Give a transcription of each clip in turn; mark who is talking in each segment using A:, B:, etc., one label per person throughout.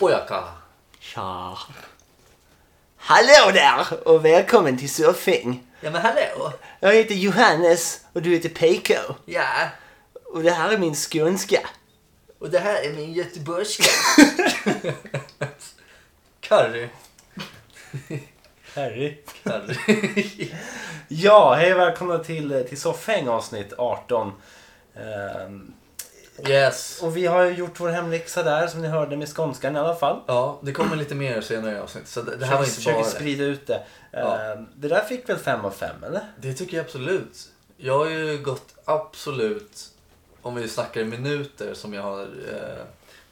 A: Åja,
B: Tja. Hallå där och välkommen till Surfing.
A: Ja men hallå!
B: Jag heter Johannes och du heter PK.
A: Ja,
B: Och det här är min skånska.
A: och det här är min göteborgska. Curry.
C: Harry.
A: Curry.
C: Ja, hej och välkomna till, till Soffhäng avsnitt 18. Ehm,
A: Yes.
C: och vi har ju gjort vår hemläxa där som ni hörde med skånskan i alla fall.
A: Ja, det kommer lite mer senare i avsnittet. Så det, det här var inte
C: försöker
A: bara det.
C: sprida ut det. Ehm, Det där fick väl fem av fem eller?
A: Det tycker jag absolut. Jag har ju gått absolut, om vi snackar i minuter som jag har eh,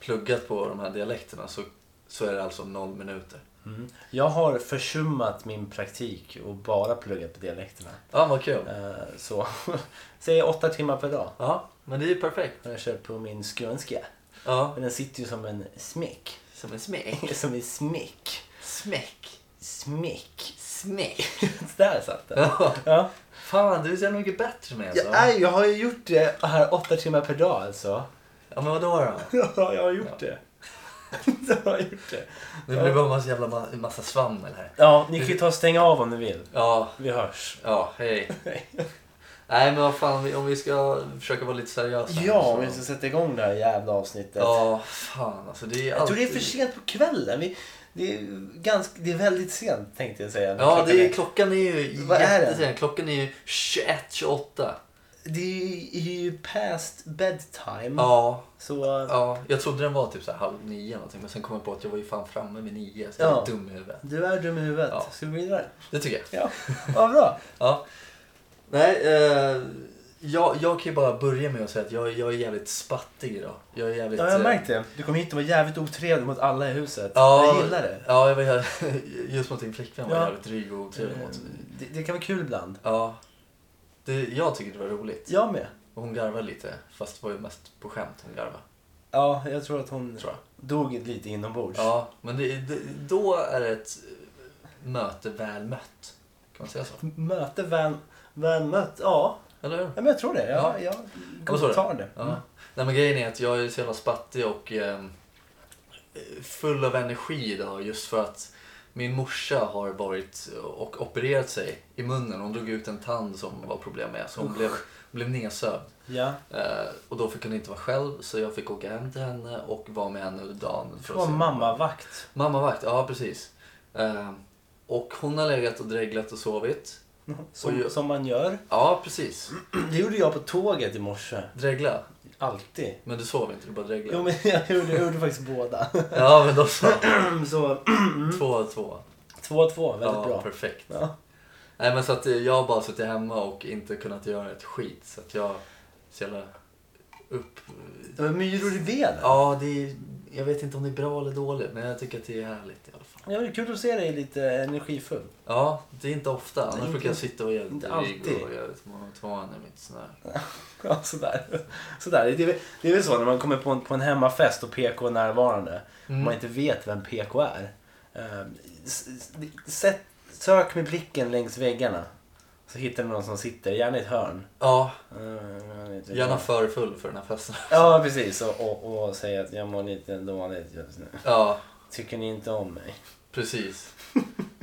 A: pluggat på de här dialekterna så, så är det alltså noll minuter.
C: Mm. Jag har försummat min praktik och bara pluggat på dialekterna.
A: Ja, vad kul.
C: Ehm, så säg åtta timmar per dag.
A: Ja, men det är ju perfekt.
C: När jag kör på min skånska.
A: Ja.
C: Men den sitter ju som en smek.
A: Som en smäck.
C: Som en smek.
A: Smäck.
C: Smek.
A: Smäck.
C: Där satt den.
A: Ja.
C: Ja.
A: Fan, du är så jävla mycket bättre med alltså.
C: Jag, är, jag har ju gjort det här åtta timmar per dag alltså.
A: Ja, men vadå då?
C: Ja, jag har gjort det. jag har gjort det.
A: Nu blir det bara en massa jävla ma- massa svammel här.
C: Ja, ni kan ju ta och stänga av om ni vill.
A: Ja,
C: Vi hörs.
A: ja, hej. Nej, men vad fan, vi- om vi ska försöka vara lite seriösa. här,
C: Ja,
A: så-
C: om vi ska sätta igång det här jävla avsnittet.
A: Ja, fan alltså. Det är
C: jag tror det är för
A: alltid-
C: sent på kvällen. Vi, det, är ganska, det är väldigt sent tänkte jag säga.
A: Ja,
C: Klockan
A: det är, klockan är ju
C: Vad är det? Mm.
A: jättesen. Klockan är ju 21, 28.
C: det är ju past bedtime.
A: Ja,
C: Så
A: ja, jag trodde den var typ så här halv nio eller någonting. Men sen kom jag på att jag var ju fan framme vid nio. Så
C: Ja.
A: jag är dum i huvudet.
C: du är dum i huvudet.
A: Ja.
C: Ska vi gå vidare?
A: Det tycker jag.
C: Ja, vad bra.
A: Ja. Nej, eh, jag, jag kan ju bara börja med att säga att jag, jag är jävligt spattig idag. Jag är jävligt...
C: Ja, jag har
A: eh,
C: märkt det. Du kom hit och var jävligt otrevlig mot alla i huset.
A: Ja,
C: Jag gillar det.
A: Ja, jag var, jävligt- just mot din flickvän var jag
C: Ja. Mm.
A: jävligt dryg och otrevlig mot.
C: Ehm, Det, det kan vara kul ibland.
A: Ja. Det, jag tycker det var roligt.
C: Jag med.
A: Och hon garvade lite, fast det var ju mest på skämt hon garvade.
C: Ja, jag tror att hon
A: Tror jag.
C: dog lite inombords.
A: Ja, men det, det, då är det ett möte väl mött. Kan man säga så?
C: Möte väl, väl mött. Ja.
A: Eller hur?
C: ja, men jag tror det.
A: Ja.
C: Jag, jag
A: men så är det.
C: godtar det. Mm.
A: Ja. Nej men grejen är att jag är så jävla spattig och ehm, full av energi idag just för att min morsa har varit och opererat sig i munnen. Hon drog ut en tand som var problem med så hon blev, blev nedsövd.
C: Ja.
A: Eh, och då fick hon inte vara själv så jag fick åka hem till henne och vara med henne under dagen.
C: Det
A: För
C: var mammavakt.
A: Mammavakt, ja precis. Eh, och hon har legat och dreglat och sovit. Och
C: Som,
A: ju-
C: som man gör.
A: Ja precis,
C: Det gjorde jag på tåget i morse.
A: dregla.
C: Alltid.
A: Men du sov inte, du bara
C: Jo,
A: dreglade.
C: men jag gjorde, jag gjorde faktiskt båda.
A: Ja men då så,
C: Så
A: två och två.
C: 2-2, väldigt
A: ja,
C: bra.
A: perfekt.
C: Ja.
A: Nej men så att eh, jag har bara suttit hemma och inte kunnat göra ett skit. Så att jag är så jävla upp...
C: Det var myror i benen.
A: Ja, det är, jag vet inte om det är bra eller dåligt men jag tycker att det är härligt i alla fall.
C: Ja, det är kul att se dig lite energifull.
A: Ja, det är inte ofta. Annars
C: Inte-
A: brukar jag sitta och vara jävligt
C: inte
A: dryg och
C: alltid.
A: jävligt monoton i mitt sån här.
C: Ja, sådär. sådär. Det, är, väl- det är väl så när man kommer på en, på en hemmafest och PK är närvarande.
A: Mm.
C: Man inte vet vem PK är. Eh, s- s- sätt, sök med blicken längs väggarna. Så hittar du någon som sitter, gärna i ett hörn. Ehm,
A: Ja,
C: Eh,
A: gärna för full för den här festen.
C: Ja, precis. Och, och, och säga att jag mår lite dåligt just nu.
A: Ja,
C: Tycker ni inte om mig?
A: precis.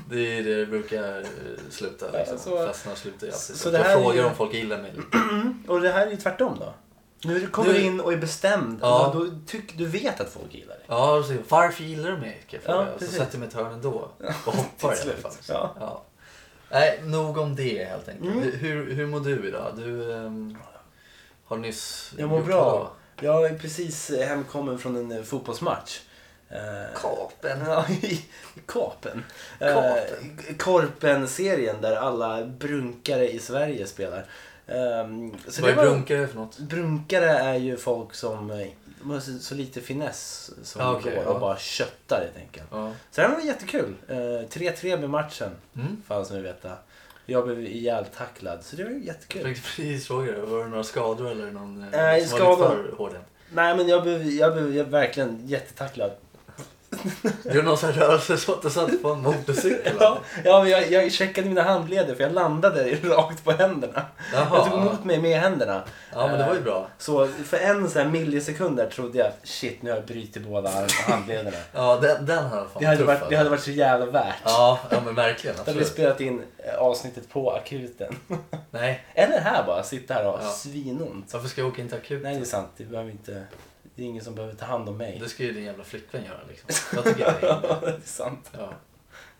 A: Det är det det brukar eh, sluta.
C: Ja,
A: Liksom.
C: så-
A: Festerna slutar ju alltid
C: så
A: så.
C: det
A: Jag
C: här är
A: frågar
C: ju-
A: om folk gillar mig.
C: Och det här är ju tvärtom då. Nu kommer
A: Nu-
C: du in och är bestämd.
A: Ja.
C: Då, då tyck, du vet att folk gillar dig.
A: Ja, och så, varför gillar du mig? Kan jag
C: Ja,
A: fråga. och så
C: precis.
A: sätter jag mig i ett hörn ändå och hoppar i alla fall.
C: Ja.
A: Ja. Nej, nog om det helt enkelt.
C: Mm.
A: Hur- Hur, hur mår du idag? Du ehm, har nyss
C: Jag mår
A: gjort
C: bra. Jag är precis hemkommen från en eh, fotbollsmatch. Eh,
A: Kapen.
C: Ja, i i Kapen.
A: Kapen.
C: Eh, Korpen-serien där alla brunkare i Sverige spelar. Ehm, så
A: Vad
C: det
A: är
C: var-
A: brunkare för något?
C: Brunkare är ju folk som eh, de har så, så lite finess som
A: Ja, okej,
C: går
A: ja.
C: och bara köttar helt enkelt.
A: Ja.
C: Så det här var jättekul. Eh, 3-3 med matchen,
A: Mm.
C: fanns nu veta. Jag blev ihjältacklad, så det var ju
A: Jag
C: jättekul.
A: tänkte precis fråga dig, var det några skador eller någon eh,
C: Nej,
A: som var lite
C: skador.
A: för hård? än?
C: Nej men jag blev, jag blev verkligen jättetacklad.
A: Gjorde någon sån här rörelse så att det satt på en motorcykel?
C: Ja, ja men jag, jag checkade mina handleder för jag landade rakt på händerna.
A: Jaha.
C: Jag tog emot mig med händerna.
A: Ja, men det var ju bra.
C: Så för en sån här millisekund där trodde jag shit nu har jag brutit båda arm- handlederna.
A: Ja, den, den hade fan
C: Det hade,
A: tuff,
C: varit,
A: alltså.
C: det hade varit så jävla värt.
A: Ja, ja men verkligen.
C: Då hade vi
A: Absolut.
C: spelat in eh, avsnittet på akuten.
A: Nej,
C: Eller här bara, sitta här och ha
A: Ja.
C: svinont.
A: varför ska jag åka in till akuten?
C: Nej det är sant, det behöver vi inte. Det är ingen som behöver ta hand om mig.
A: Det ska ju din jävla flickvän göra liksom. Jag tycker det är...
C: det är sant.
A: Ja,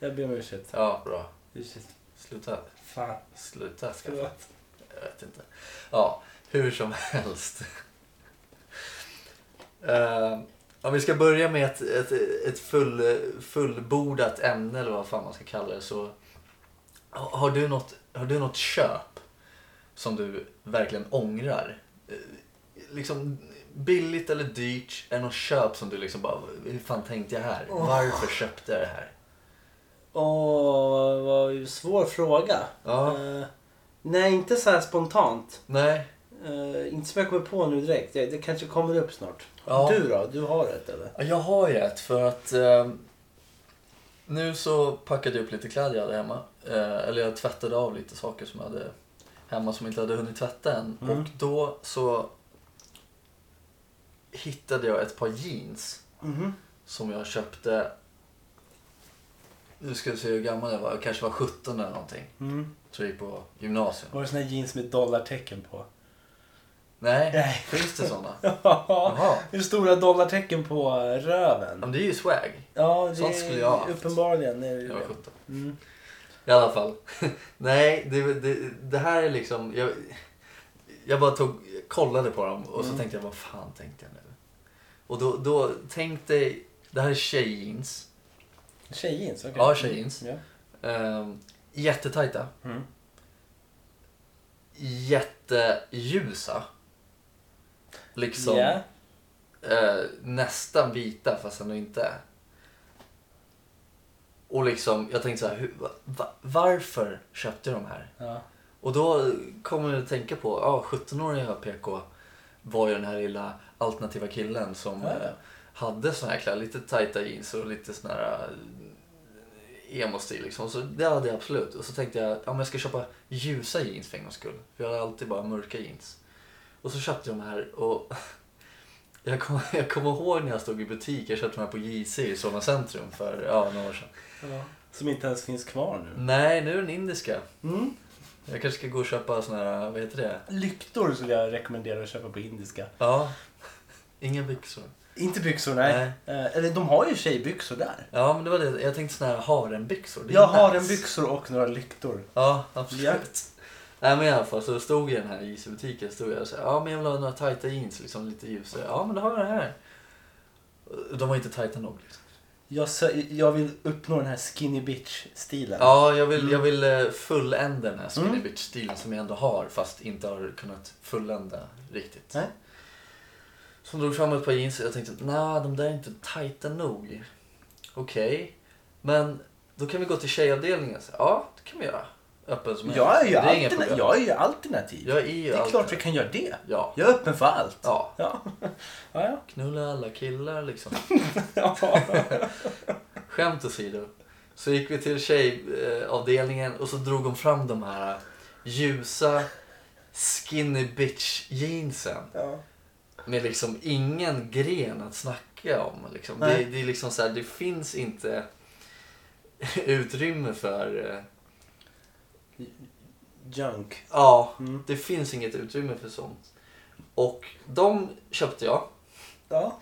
C: Jag ber om ursäkt.
A: ja bra.
C: Ursäkt.
A: Sluta.
C: Fan.
A: Sluta skaffa.
C: Förlåt.
A: Jag vet inte. Ja, hur som helst. Eh, om vi ska börja med ett, ett, ett full, fullbordat ämne eller vad fan man ska kalla det så har har du något, har du något köp som du verkligen ångrar? Eh, Liksom billigt eller dyrt? Är det något köp som du liksom bara, hur fan tänkte jag här? Varför köpte jag det här?
C: Åh, vad ju svår fråga.
A: Ja.
C: Eh, nej, inte så här spontant.
A: Nej,
C: Eh, inte som jag kommer på nu direkt. Det, det kanske kommer upp snart.
A: Ja.
C: Du då? Du har ett eller?
A: Ja, Jag har ju ett för att eh, nu så packade jag upp lite kläder jag hade hemma. Eh, eller jag tvättade av lite saker som jag hade hemma som jag inte hade hunnit tvätta än.
C: Mm.
A: Och då så hittade jag ett par jeans
C: Mhm.
A: som jag köpte. Nu ska vi se hur gammal jag var. Jag kanske var 17 eller någonting.
C: Mm.
A: Tror jag gick på gymnasiet.
C: Var det såna här jeans med dollartecken på?
A: Nej,
C: Nej.
A: finns det sådana? Jaha.
C: Jaha. Det är stora dollartecken på eh, röven.
A: Men det är ju swag.
C: Ja, det
A: Sånt skulle jag ha haft.
C: uppenbarligen. Är det
A: Jag var
C: det.
A: 17.
C: Mm.
A: I alla fall. Nej, det, det, det här är liksom... Jag, jag bara tog, kollade på dem och så tänkte jag, vad fan tänkte jag nu? Och då, då tänkte jag, det här är tjejjeans.
C: Tjejjeans? okej. Mm.
A: Ja, tjejjeans.
C: Ja.
A: Um, jättetajta.
C: Mm.
A: Jätteljusa. Liksom
C: Ja.
A: eh, nästan vita fast ändå inte. är. Och liksom, jag tänkte så här, hur, va, va, varför köpte jag de här?
C: Ja.
A: Och då kommer jag att tänka på, ja, 17-åriga PK var ju den här lilla alternativa killen som
C: Ja, ja.
A: eh, hade såna här kläder, lite tajta jeans och lite sån här eh, emo-stil liksom. Så det hade jag absolut. Och så tänkte jag, ja men jag ska köpa ljusa jeans för en gångs skull. För jag hade alltid bara mörka jeans. Och så köpte jag de här och jag kommer jag kommer ihåg när jag stod i butik, jag köpte de här på JC i Solna centrum för ja, några år sedan.
C: Ja. Som inte ens finns kvar nu.
A: Nej, nu är den indiska.
C: Mm.
A: Jag kanske ska gå och köpa såna här, vad heter det?
C: Lyktor skulle jag rekommendera att köpa på indiska.
A: Ja. Inga byxor.
C: Inte byxor, nej. Eh, eller de har ju tjejbyxor där.
A: Ja, men det var det. Jag tänkte såna här harenbyxor. Det är
C: Jag
A: nice.
C: har en byxor och några lyktor.
A: Ja, absolut.
C: Ja.
A: Nej, men i alla fall så stod jag i den här jeansbutiken stod jag och sa ja, men jag vill ha några tajta jeans, liksom lite ljusare. Ja, men då har jag det här. De var inte tajta nog. Liksom.
C: Jag, sö- jag vill uppnå den här skinny bitch-stilen.
A: Ja, jag vill, jag vill eh, fullända den här skinny
C: Mm.
A: bitch-stilen som jag ändå har, fast inte har kunnat fullända riktigt.
C: Nej.
A: Så hon drog fram ett par jeans och jag tänkte, nej de där är inte tajta nog. Okej, men då kan vi gå till tjejavdelningen. Så, ja, det kan vi göra. Öppen som
C: Jag är, ju
A: Det är inga
C: alterna-
A: problem.
C: jag är ju alternativ.
A: Jag är ju
C: det är
A: alltid-
C: klart vi kan göra det.
A: Ja.
C: Jag är öppen för allt.
A: ja.
C: Ja. ja,
A: Knulla alla killar liksom.
C: ja.
A: Skämt åsido. Så gick vi till tjejavdelningen och så drog hon fram de här ljusa skinny bitch jeansen.
C: ja.
A: Med liksom ingen gren att snacka om. Liksom. Det,
C: Nej.
A: det är liksom så här, det finns inte utrymme för... eh,
C: Junk.
A: Ja,
C: Mm.
A: det finns inget utrymme för sånt. Och de köpte jag.
C: Ja.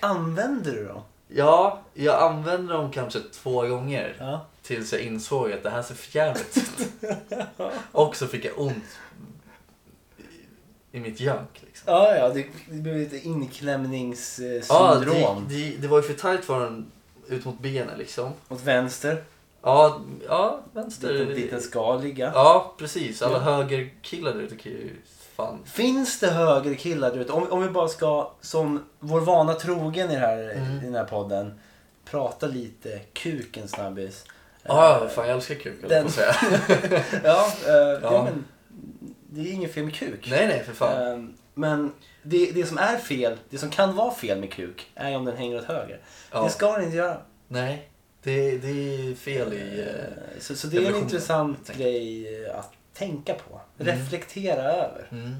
C: Använder du dem?
A: Ja, jag använde dem kanske två gånger.
C: Ja.
A: Tills jag insåg att det här ser förjävligt ut. Och så fick jag ont i mitt junk. Liksom.
C: Ja, ja. Det, det blir lite
A: Ja,
C: inklämningssyndrom.
A: det, gick- det, det var ju för tajt var den ut mot benen liksom.
C: Åt vänster.
A: Ja, ja vänster.
C: Dit, dit den ska ligga.
A: Ja, precis. Alla
C: Ja.
A: högerkillar där ute kan ju fan...
C: Finns det högre killar du vet, om, om vi bara ska, som vår vana trogen i, det här,
A: Mm.
C: i den här podden, prata lite kuken snabbis.
A: Ah, Ja,
C: Eh,
A: fan jag älskar kuk höll
C: den-
A: jag på att säga.
C: ja, eh, ja.
A: Ja.
C: men det är inget fel med kuk.
A: Nej, nej för fan.
C: Eh, Men det, det som är fel, det som kan vara fel med kuk, är ju om den hänger åt höger.
A: Ja.
C: Det ska den inte göra.
A: Nej, det, det är fel i... eh,
C: Så, så det är en
A: Evolution,
C: intressant
A: helt enkelt. Mm.
C: grej att tänka på. Reflektera över.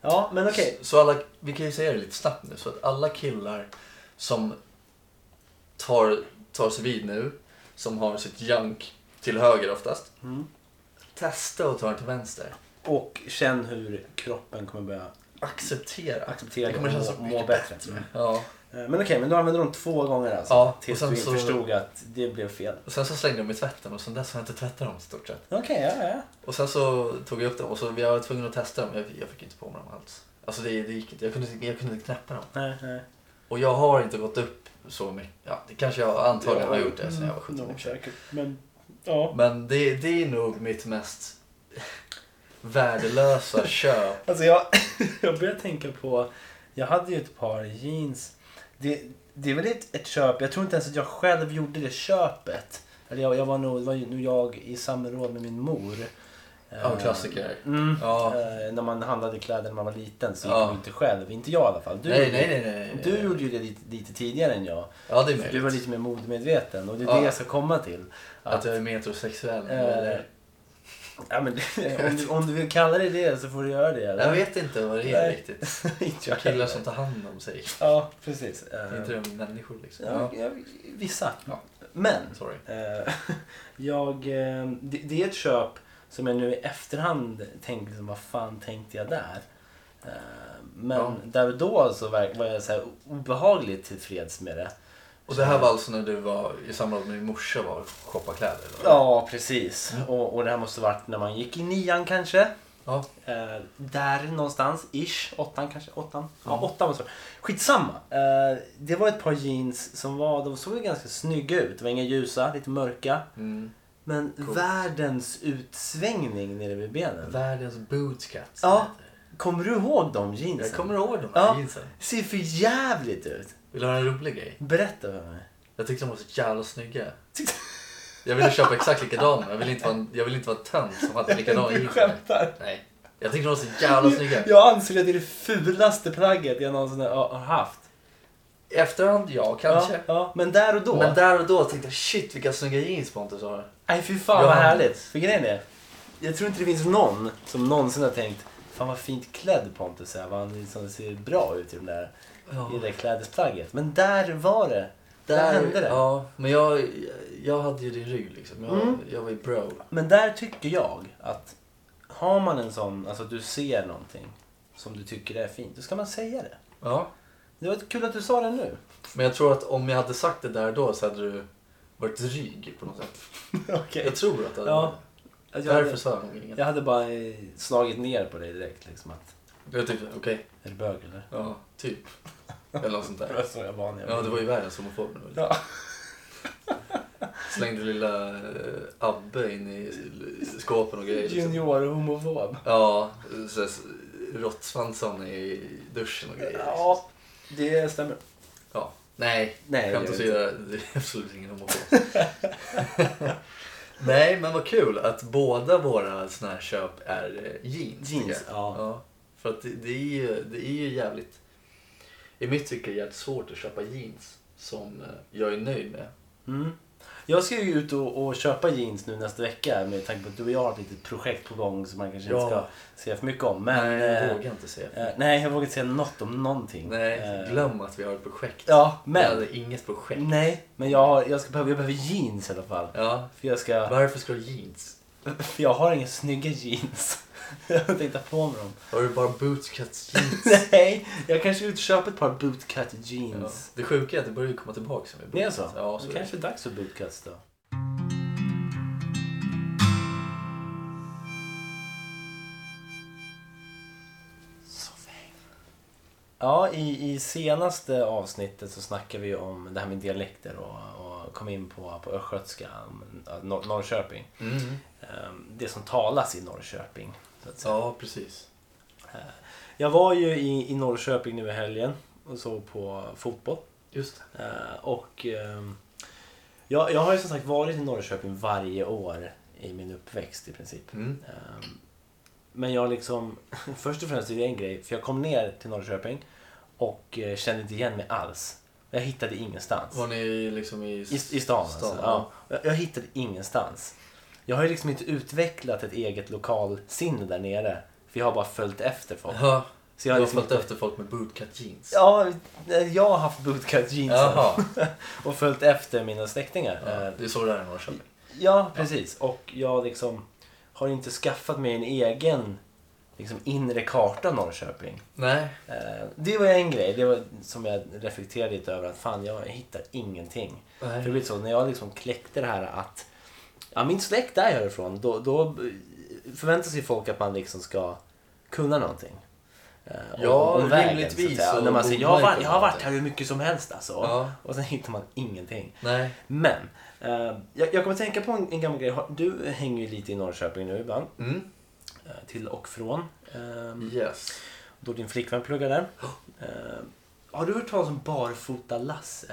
C: Ja, men okej.
A: Så alla, vi kan ju säga det lite snabbt nu. Så att alla killar som tar, tar sig vid nu, som har sitt jank till höger oftast. Testa att ta den till vänster.
C: Och känn hur kroppen kommer börja
A: Acceptera.
C: acceptera
A: det kommer kännas så
C: och må, må
A: mycket
C: bättre.
A: bättre. Ja.
C: Eh, Men okej, men du använde dem två gånger alltså?
A: Ja, och
C: tills
A: sen
C: du
A: så-
C: förstod att det blev fel?
A: Och sen så slängde jag dem i tvätten och sen dess har jag inte tvättat dem i stort sett.
C: Okej, ja, ja.
A: Och sen så tog jag upp dem och så jag var tvungen att testa dem. Jag, jag fick inte på mig dem alls. Alltså det, det gick inte. Jag kunde, jag kunde inte knäppa dem.
C: Nej, nej. Och
A: Och jag har inte gått upp så mycket. Ja, det kanske jag antagligen har gjort det sen jag var 17 i och för sig.
C: Mm. säkert. Men, ja.
A: Men det, det är nog mitt mest värdelösa köp.
C: Alltså jag, jag börjar tänka på, jag hade ju ett par jeans. Det, det är väl ett, ett köp, jag tror inte ens att jag själv gjorde det köpet. Eller jag, jag var nog, det var ju nog jag i samråd med min mor.
A: Ja,
C: Eh,
A: klassiker.
C: Mm.
A: Ja.
C: Eh, när man handlade kläder när man var liten så gick
A: Ja.
C: man inte själv. Inte jag i alla fall. Du,
A: Nej,
C: gjorde-
A: nej, nej, nej.
C: Du gjorde ju det lite, lite tidigare än jag.
A: Ja, det är
C: Du var
A: möjligt.
C: lite mer modemedveten och det är
A: Ja.
C: det jag ska komma till.
A: Att jag är metrosexuell.
C: Eh,
A: eller?
C: Ja, men, om, du, om du vill kalla det det så får du göra det. eller?
A: Jag vet inte vad det är
C: Nej.
A: riktigt.
C: inte jag
A: Killar
C: heller.
A: som tar hand om sig.
C: Ja, precis.
A: Det är
C: Eh,
A: inte de människor liksom.
C: ja,
A: Ja.
C: ja, vissa.
A: Ja.
C: Men.
A: Sorry.
C: eh, jag, eh, det, det är ett köp som jag nu i efterhand tänker liksom, vad fan tänkte jag där? Eh, men
A: Ja.
C: där och då så verk- var jag så här obehagligt tillfreds med det.
A: Och det här var alltså när du var i samråd med din morsa var och shoppade kläder? Eller?
C: Ja, precis. Mm. Och, och det här måste varit när man gick i nian kanske.
A: ja.
C: Eh, där någonstans, ish. Åttan kanske? Åttan? Ja, åttan måste det vara. Skitsamma. Eh, det var ett par jeans som var, de såg ju ganska snygga ut. De var inga ljusa, lite mörka.
A: Mm.
C: Men världens utsvängning nere vid benen.
A: Världens bootcut. som
C: Ja.
A: det heter.
C: Kommer du ihåg de jeansen?
A: Jag kommer ihåg de här
C: Ja.
A: jeansen.
C: Ser för jävligt ut.
A: Vill du höra en rolig grej?
C: Berätta för mig.
A: Jag tyckte de var så jävla snygga. Jag ville köpa exakt likadana. Jag ville inte vara en, jag ville inte vara en tönt som hade likadana
C: Du
A: jeans.
C: skämtar.
A: Nej. Jag tyckte de var så jävla snygga.
C: Jag anser att det är det fulaste plagget jag någonsin har har haft.
A: I efterhand, ja kanske.
C: Ja, ja. Men där och då.
A: Men där och då tänkte jag shit vilka snygga jeans Pontus har.
C: Nej fy fan
A: Ja.
C: vad härligt. För grejen är, jag tror inte det finns någon som någonsin har tänkt Fan vad fint klädd Pontus är. Vad han liksom ser bra ut i, de där,
A: Ja.
C: i det där klädesplagget. Men där var det. Där, hände det.
A: Ja, men jag, jag hade ju din rygg liksom. Jag,
C: Mm.
A: jag var ju bro.
C: Men där tycker jag att har man en sån, alltså att du ser någonting som du tycker är fint, då ska man säga det.
A: Ja.
C: Det var kul att du sa det nu.
A: Men jag tror att om jag hade sagt det där då så hade du varit dryg på något sätt.
C: Okej.
A: Jag tror att det hade
C: Ja.
A: varit
C: Jag,
A: det. Därför
C: hade-
A: sa jag nog inget.
C: jag hade bara eh, slagit ner på dig direkt liksom att,
A: Jag tyckte okej,
C: är du bög eller?
A: ja, typ. Eller något sånt
C: Det
A: där.
C: var så jag var när jag
A: Ja, det var ju världens homofob. nu.
C: Ja.
A: Slängde lilla eh, Abbe in i l- skåpen och grejer. Liksom.
C: Junior-homofob.
A: Ja, så här s- råttsvansarna i duschen och grejer. liksom.
C: Ja, det stämmer.
A: ja. Nej,
C: Nej,
A: skämt
C: det gör
A: åsido, det är absolut ingen homofob. Nej, men vad kul att båda våra såna här köp är eh, jeans. tycker
C: Jeans,
A: jag.
C: ja.
A: ja. För att det, det, är ju, det är ju jävligt, i mitt tycke, jävligt svårt att köpa jeans som eh, jag är nöjd med.
C: Mm. Jag ska ju ut och, och köpa jeans nu nästa vecka med tanke på att du och jag har ett litet projekt på gång som man kanske
A: Ja.
C: inte ska säga för mycket om. Men,
A: Nej, jag
C: eh,
A: vågar inte säga.
C: Eh, nej, jag vågar inte säga något om någonting.
A: Nej,
C: Eh,
A: glöm att vi har ett projekt.
C: Ja,
A: Jag
C: men.
A: hade inget projekt.
C: Nej, men jag, har, jag, ska behöva, jag behöver jeans i alla fall.
A: Ja.
C: För jag, ska,
A: Varför ska du ha jeans?
C: för jag har inga snygga jeans. jag tänkte ta på mig dem.
A: Har du bara bootcut jeans?
C: Nej, jag kanske utköper ett par bootcut
A: ja.
C: jeans.
A: Det sjuka är att det börjar ju komma tillbaka som vi
C: Det är
A: började.
C: så?
A: Ja, så
C: det
A: är det.
C: kanske är dags för bootcuts då. Ja, i, i senaste avsnittet så snackade vi om det här med dialekter och, och kom in på, på östgötska, Nor- Norrköping.
A: Mm.
C: Ehm, Det som talas i Norrköping. Så att säga.
A: Ja, precis.
C: Jag var ju i, i Norrköping nu i helgen och såg på fotboll.
A: Just det.
C: Eh, och ehm, jag, jag har ju som sagt varit i Norrköping varje år i min uppväxt i princip.
A: Mm.
C: Ehm, Men jag liksom, först och främst är det en grej, för jag kom ner till Norrköping och eh, kände inte igen mig alls. Jag hittade ingenstans.
A: Var ni liksom i...
C: I, I stan, alltså.
A: ja.
C: Ja. Jag, jag hittade ingenstans. Jag har ju liksom inte utvecklat ett eget lokalsinne där nere. För jag har bara följt efter folk.
A: Jaha.
C: Så
A: Du
C: jag har
A: har
C: liksom
A: följt
C: inte...
A: efter folk med bootcut jeans?
C: Ja, jag har haft bootcut jeans
A: Jaha.
C: och följt efter mina släktingar.
A: Ja,
C: Eh,
A: det är så det är i Norrköping.
C: Ja, precis. Och jag liksom har inte skaffat mig en egen liksom, inre karta av Norrköping.
A: Nej.
C: Eh, Det var en grej det var, som jag reflekterade lite över. Att fan, jag hittar ingenting.
A: Nej.
C: För det blir så, när jag liksom kläckte det här att ja, min släkt är härifrån. Då, då förväntar sig folk att man liksom ska kunna någonting. Eh,
A: Ja, rimligtvis
C: så att säga.
A: så
C: När man säger,
A: borde
C: jag, har
A: man ju
C: varit-
A: kunna
C: jag har varit
A: någonting."
C: här hur mycket som helst alltså.
A: Ja.
C: Och sen hittar man ingenting.
A: Nej.
C: Men, eh, jag, jag kommer att tänka på en, en gammal grej. Har- Du hänger ju lite i Norrköping nu ibland.
A: Mm.
C: eh, Till och från. Eh,
A: Yes.
C: då din flickvän pluggar där. Eh, har du hört talas om Barfota-Lasse?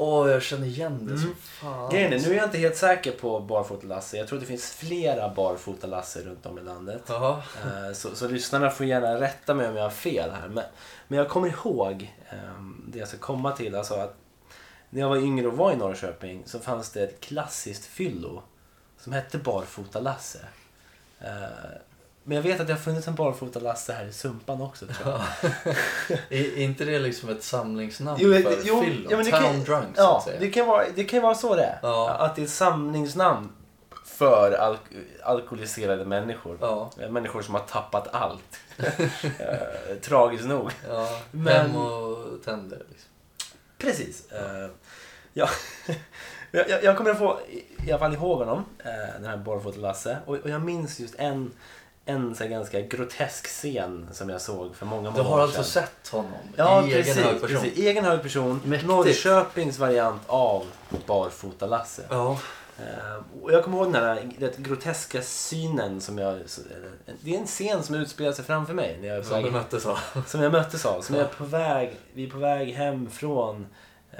A: Åh, jag känner igen det som fan.
C: Mm. Grejen är, nu är jag inte helt säker på Barfota-Lasse. Jag tror att det finns flera Barfota-Lasse runt om i landet.
A: Jaha.
C: Eh, Så, så lyssnarna får gärna rätta mig om jag har fel här. Men, men jag kommer ihåg ehm, det jag ska komma till. Alltså att när jag var yngre och var i Norrköping så fanns det ett klassiskt fyllo som hette Barfota-Lasse. Eh, men jag vet att det har funnits en Barfota-Lasse här i Sumpan också tror jag.
A: Är, är inte det liksom ett samlingsnamn
C: Jo,
A: för
C: jo,
A: fyllon?
C: ja, men det
A: Town
C: kan-
A: drunk, så
C: ja,
A: att säga.
C: Det kan, vara, det kan vara så det är.
A: Ja.
C: Att det är ett samlingsnamn för alk- alkoholiserade människor.
A: Ja.
C: Eh, Människor som har tappat allt. Eh, Tragiskt nog.
A: Ja,
C: Men-
A: hem och tänder liksom.
C: Precis. Eh, ja. jag, jag- jag kommer att få, i- i alla fall ihåg honom, eh, den här Barfota-Lasse. Och, och jag minns just en, en så här ganska grotesk scen som jag såg för många,
A: Du
C: många
A: har
C: år
A: alltså
C: sedan.
A: sett honom?
C: Ja,
A: i
C: precis,
A: egen hög person?
C: precis. Egen hög person.
A: Mäktigt.
C: Norrköpings variant av Barfota-Lasse.
A: Ja.
C: Eh, Och jag kommer ihåg den här rätt groteska synen som jag... eh, Det är en scen som utspelar sig framför mig. När jag är på
A: Som du
C: väg
A: möttes av?
C: som jag möttes av. Som jag är på väg, vi är på väg hem från eh,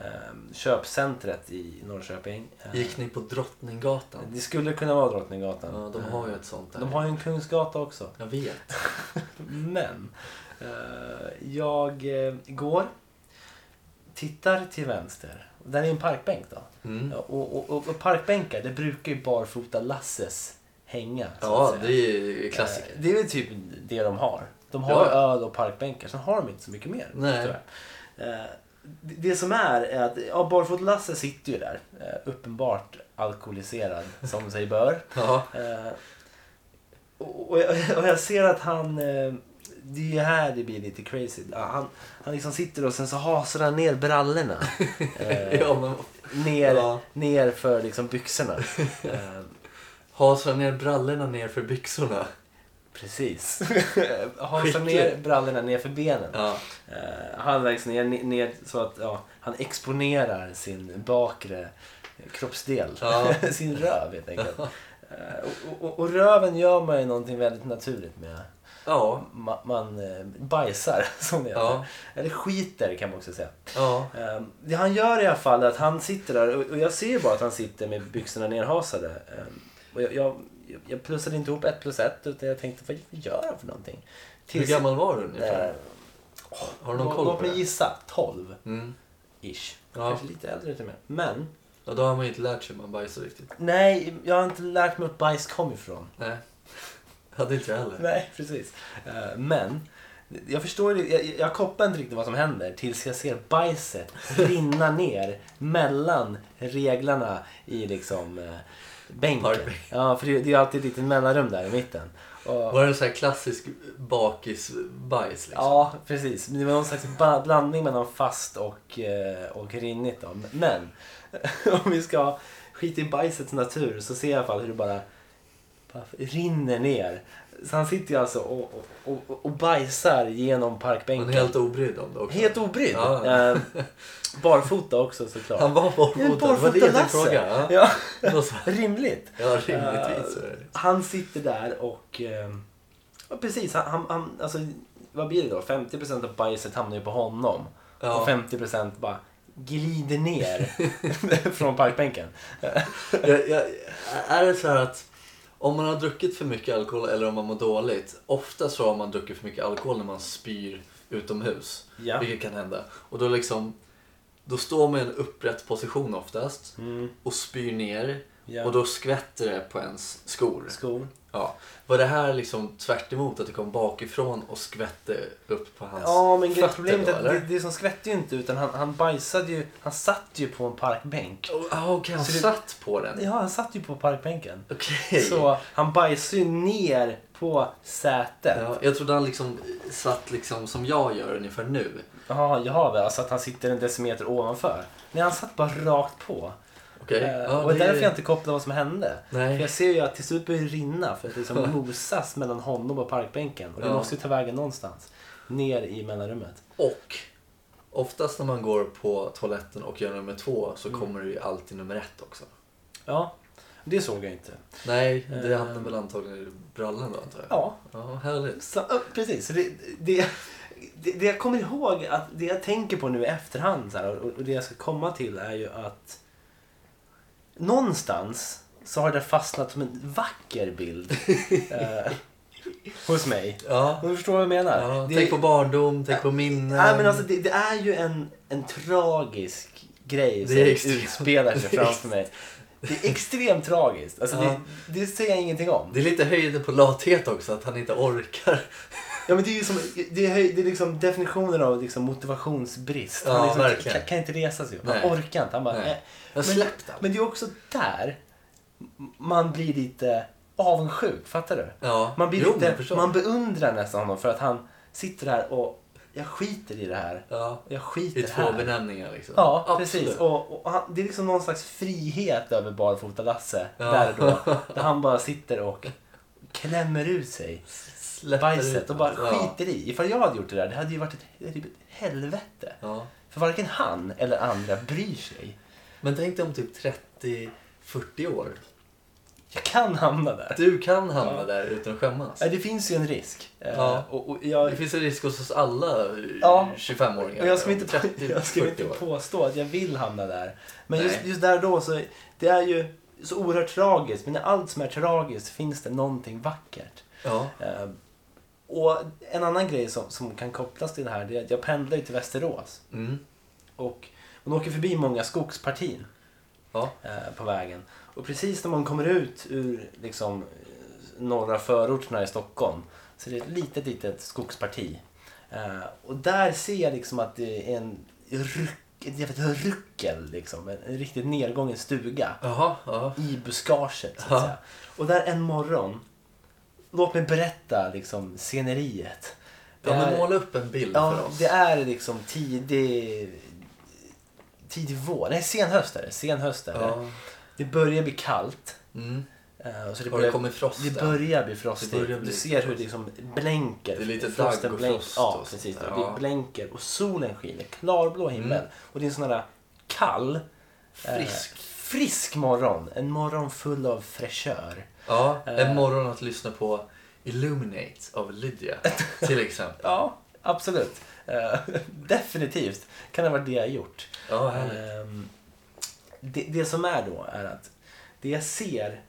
C: köpcentret i Norrköping. Eh,
A: Gick ni på Drottninggatan?
C: Det skulle kunna vara Drottninggatan. Ehm,
A: Ja, de har ju ett sånt där.
C: De har ju en Kungsgata också.
A: Jag vet.
C: Men eh, jag eh, går, tittar till vänster. Där är en parkbänk då.
A: Mm.
C: Ja, och, och- och, och parkbänkar, det brukar ju barfota-Lasses hänga. så att
A: Ja,
C: säga.
A: det är ju klassiker.
C: Eh, Det är väl typ det de har. De har
A: Ja.
C: öl och parkbänkar, sen har de inte så mycket mer.
A: Nej.
C: tror jag. Eh, Det det som är, är att ja, Barfota-Lasse sitter ju där. eh, Uppenbart alkoholiserad, som sig bör.
A: Ja.
C: Eh, Och, och, jag, och jag ser att han... eh, Det är ju här det blir lite crazy. Ja, Han, han liksom sitter och sen så hasar han ner brallorna. Eh,
A: ja, men
C: ner,
A: Ja.
C: ner för liksom byxorna. Eh,
A: hasar ner brallorna ner för byxorna.
C: Precis. Hasar ner
A: Skickligt.
C: brallorna ner för benen.
A: Ja.
C: Eh, han läggs ner, ner så att ja, han exponerar sin bakre kroppsdel.
A: Ja.
C: sin röv helt enkelt. Eh, och, och, och röven gör man ju någonting väldigt naturligt med.
A: Ja.
C: Man, man eh, bajsar som det heter.
A: Ja.
C: Eller skiter kan man också säga.
A: Ja.
C: Eh, Det han gör i alla fall är att han sitter där och och jag ser ju bara att han sitter med byxorna nerhasade. Eh, Och jag, jag, jag plussade inte ihop ett plus ett utan jag tänkte vad gör han för någonting?
A: Hur
C: Tills-
A: gammal var du
C: Eh,
A: ungefär? Har du någon
C: Låt-
A: koll
C: Låt
A: på
C: mig
A: det?
C: gissa, 12
A: Mm.
C: ish.
A: Ja.
C: Kanske lite äldre till och med. Men,
A: Ja, då har man ju inte lärt sig hur man bajsar riktigt.
C: nej, jag har inte lärt mig att bajs kom ifrån.
A: Nej. Hade inte jag heller.
C: Nej, precis. Eh, Men, jag förstår ju- jag, jag kopplar inte riktigt vad som händer tills jag ser bajset rinna ner mellan reglarna i liksom eh, bänken.
A: Parkbänk.
C: Ja, för det, det är ju alltid ett litet mellanrum där i mitten. Och,
A: Var det en sån här klassisk bakisbajs liksom?
C: Ja, precis. Men Det var någon slags ba- blandning mellan fast och, eh, och rinnigt. Då. Men om vi ska skita i bajsets natur så ser jag i alla fall hur det bara, bara rinner ner. Så han sitter ju alltså och, och, och, och bajsar genom parkbänken.
A: Men helt obrydd om det också.
C: Helt obrydd.
A: Ja.
C: Eh, barfota också såklart.
A: Han var
C: Det är
A: barfota, det var det jag tänkte
C: barfota-Lasse.
A: fråga. Ja.
C: Ja,
A: Då så-
C: rimligt.
A: Ja, rimligtvis så är det.
C: Han sitter där och... Eh, ja, precis, han, han, han, alltså, vad blir det då? 50% av bajset hamnar ju på honom.
A: Ja.
C: Och 50% bara glider ner från parkbänken.
A: Jag, jag, är det så här att om man har druckit för mycket alkohol eller om man mår dåligt. Ofta så har man druckit för mycket alkohol när man spyr utomhus.
C: Ja.
A: Vilket kan hända. Och då liksom, då står man i en upprätt position oftast
C: Mm.
A: och spyr ner.
C: ja.
A: Och då skvätter det på ens skor.
C: Skor.
A: Ja. Var det här liksom tvärt emot att det kom bakifrån och skvätte upp på hans
C: Ja, men grej-
A: fötter
C: problemet
A: då,
C: är att det,
A: eller?
C: det som skvätte ju inte utan han, han bajsade ju, han satt ju på en parkbänk.
A: Ja, okej, han
C: Så det-
A: satt på den.
C: Ja, han satt ju på parkbänken.
A: Okej.
C: Så han bajsade ju ner på sätet.
A: Ja, jag trodde han liksom satt liksom som jag gör ungefär nu.
C: Jaha, jaha, väl, alltså att han sitter en decimeter ovanför. Nej, han satt bara rakt på.
A: Okej?
C: Eh,
A: Ja,
C: och det
A: det-
C: är därför jag inte kopplar vad som hände. För
A: Nej.
C: jag ser ju att till slut börjar det rinna för att det liksom mosas mellan honom och parkbänken. Och det
A: Ja.
C: måste ju ta vägen någonstans. Ner i mellanrummet.
A: Och oftast när man går på toaletten och gör nummer två så
C: Mm.
A: kommer det ju alltid nummer ett också.
C: Ja, det såg jag inte.
A: Nej, det
C: Eh.
A: hamnar väl antagligen i brallan då antar jag.
C: Ja,
A: Ja, härligt.
C: Så, ja, precis. Så Det, det, det, det jag kommer ihåg, att det jag tänker på nu i efterhand så här, och, och det jag ska komma till är ju att någonstans så har det fastnat som en vacker bild eh, hos mig.
A: Ja.
C: Du förstår vad jag menar?
A: ja
C: det,
A: Tänk på barndom, tänk på minnen.
C: nej, men alltså, det, det är ju en, en tragisk grej som
A: Det är extremt-
C: utspelar sig
A: det är
C: framför mig. Det är extremt tragiskt. Alltså,
A: Ja.
C: det, det säger jag ingenting om.
A: Det är lite höjden på lathet också, att han inte orkar.
C: Ja men det är ju som, det är, höj- det är liksom definitionen av liksom motivationsbrist.
A: Ja,
C: han liksom,
A: verkligen.
C: kan, kan inte resa sig upp. Han
A: Nej.
C: orkar inte. Han bara,
A: Nej.
C: "Eh."
A: Jag
C: Men-
A: släppte han.
C: Men det är också där man blir lite avundsjuk. Fattar du?
A: Ja,
C: Man, blir
A: jo, men jag
C: lite,
A: förstår.
C: man beundrar nästan honom för att han sitter där och jag skiter i det här.
A: Ja,
C: Jag
A: I
C: skiter
A: två
C: här.
A: benämningar liksom.
C: Ja,
A: Absolut.
C: precis. Och, och han, det är liksom någon slags frihet över barfota-Lasse
A: Ja.
C: där och då. Där han bara sitter och klämmer ut sig
A: Släpper ut
C: bajset och bara
A: allt. Ja.
C: skiter i. Ifall jag hade gjort det där, det hade ju varit ett, det hade ju blivit ett helvete.
A: Ja.
C: För varken han eller andra bryr sig.
A: Men tänk dig om typ 30-40 år.
C: Jag kan hamna där.
A: Du kan hamna
C: Ja.
A: där utan att skämmas.
C: Ja, Det finns ju en risk. Eh,
A: Ja.
C: Och, och
A: Det
C: jag,
A: finns en risk hos oss alla eh,
C: Ja.
A: 25-åringar.
C: och jag ska inte,
A: om 30,
C: jag ska
A: 40
C: inte
A: år.
C: påstå att jag vill hamna där. Men just,
A: Nej.
C: just där då så, det är ju så oerhört tragiskt. Men i allt som är tragiskt finns det någonting vackert.
A: Ja.
C: Eh, Och en annan grej som, som kan kopplas till det här, det är att jag pendlar ju till Västerås.
A: Mm.
C: Och man åker förbi många skogspartier.
A: Ja.
C: eh, på vägen. Och precis när man kommer ut ur liksom, eh, norra förorterna i Stockholm så är det ett litet, litet skogsparti. Eh, och där ser jag liksom att det är en ryck, ett jävligt ruckel, liksom, en, en riktigt nedgången stuga
A: Jaha, ja.
C: i buskaget. Så
A: Ja.
C: att säga. Och där en morgon, låt mig berätta liksom, sceneriet. Eh, Det
A: Ja,
C: är-
A: men måla upp en bild för
C: Ja,
A: oss.
C: det är liksom tidig, tidig vår. Nej, sen höst är det. Sen höst är det.
A: Ja.
C: Det börjar bli kallt.
A: Mm.
C: eh, och Så det,
A: Har det
C: börjar,
A: kommit frost
C: det
A: än?
C: börjar bli frostigt.
A: Det börjar bli
C: du ser hur
A: frost.
C: det liksom blänker.
A: Det är lite
C: Frosten
A: dagg och
C: blänker.
A: frost
C: Ja,
A: och sånt
C: precis.
A: där, ja. Mm.
C: Det blänker och solen skiner. Klarblå himmel. Och det är en sån där kall, eh,
A: Frisk.
C: frisk morgon. En morgon full av fräschör.
A: Ja,
C: Eh.
A: en morgon att lyssna på Illuminate av Lydia till exempel.
C: Ja, absolut. Eh, Definitivt kan det ha varit det jag gjort.
A: Ja, härligt.
C: Ehm, det, det som är då är att det jag ser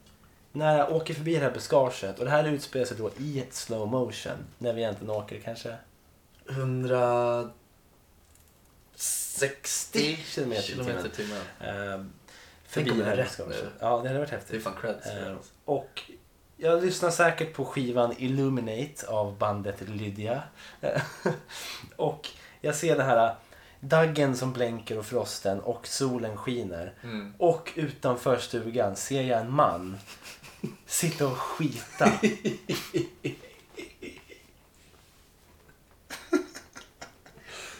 C: när jag åker förbi det här buskaget och det här utspelar sig då i ett slow motion när vi egentligen åker kanske
A: 160
C: kilometer i
A: kilometer i
C: timmen.
A: timmen.
C: Ehm,
A: Tänk
C: förbi
A: om
C: det här
A: jag har rätt
C: buskaget.
A: nu.
C: Ja, det hade varit
A: Det är
C: häftigt.
A: fan creds.
C: Ehm, och jag lyssnar säkert på skivan Illuminate av bandet Lydia. och jag ser den här daggen som blänker och frosten och solen skiner.
A: Mm.
C: Och utanför stugan ser jag en man sitta och skita.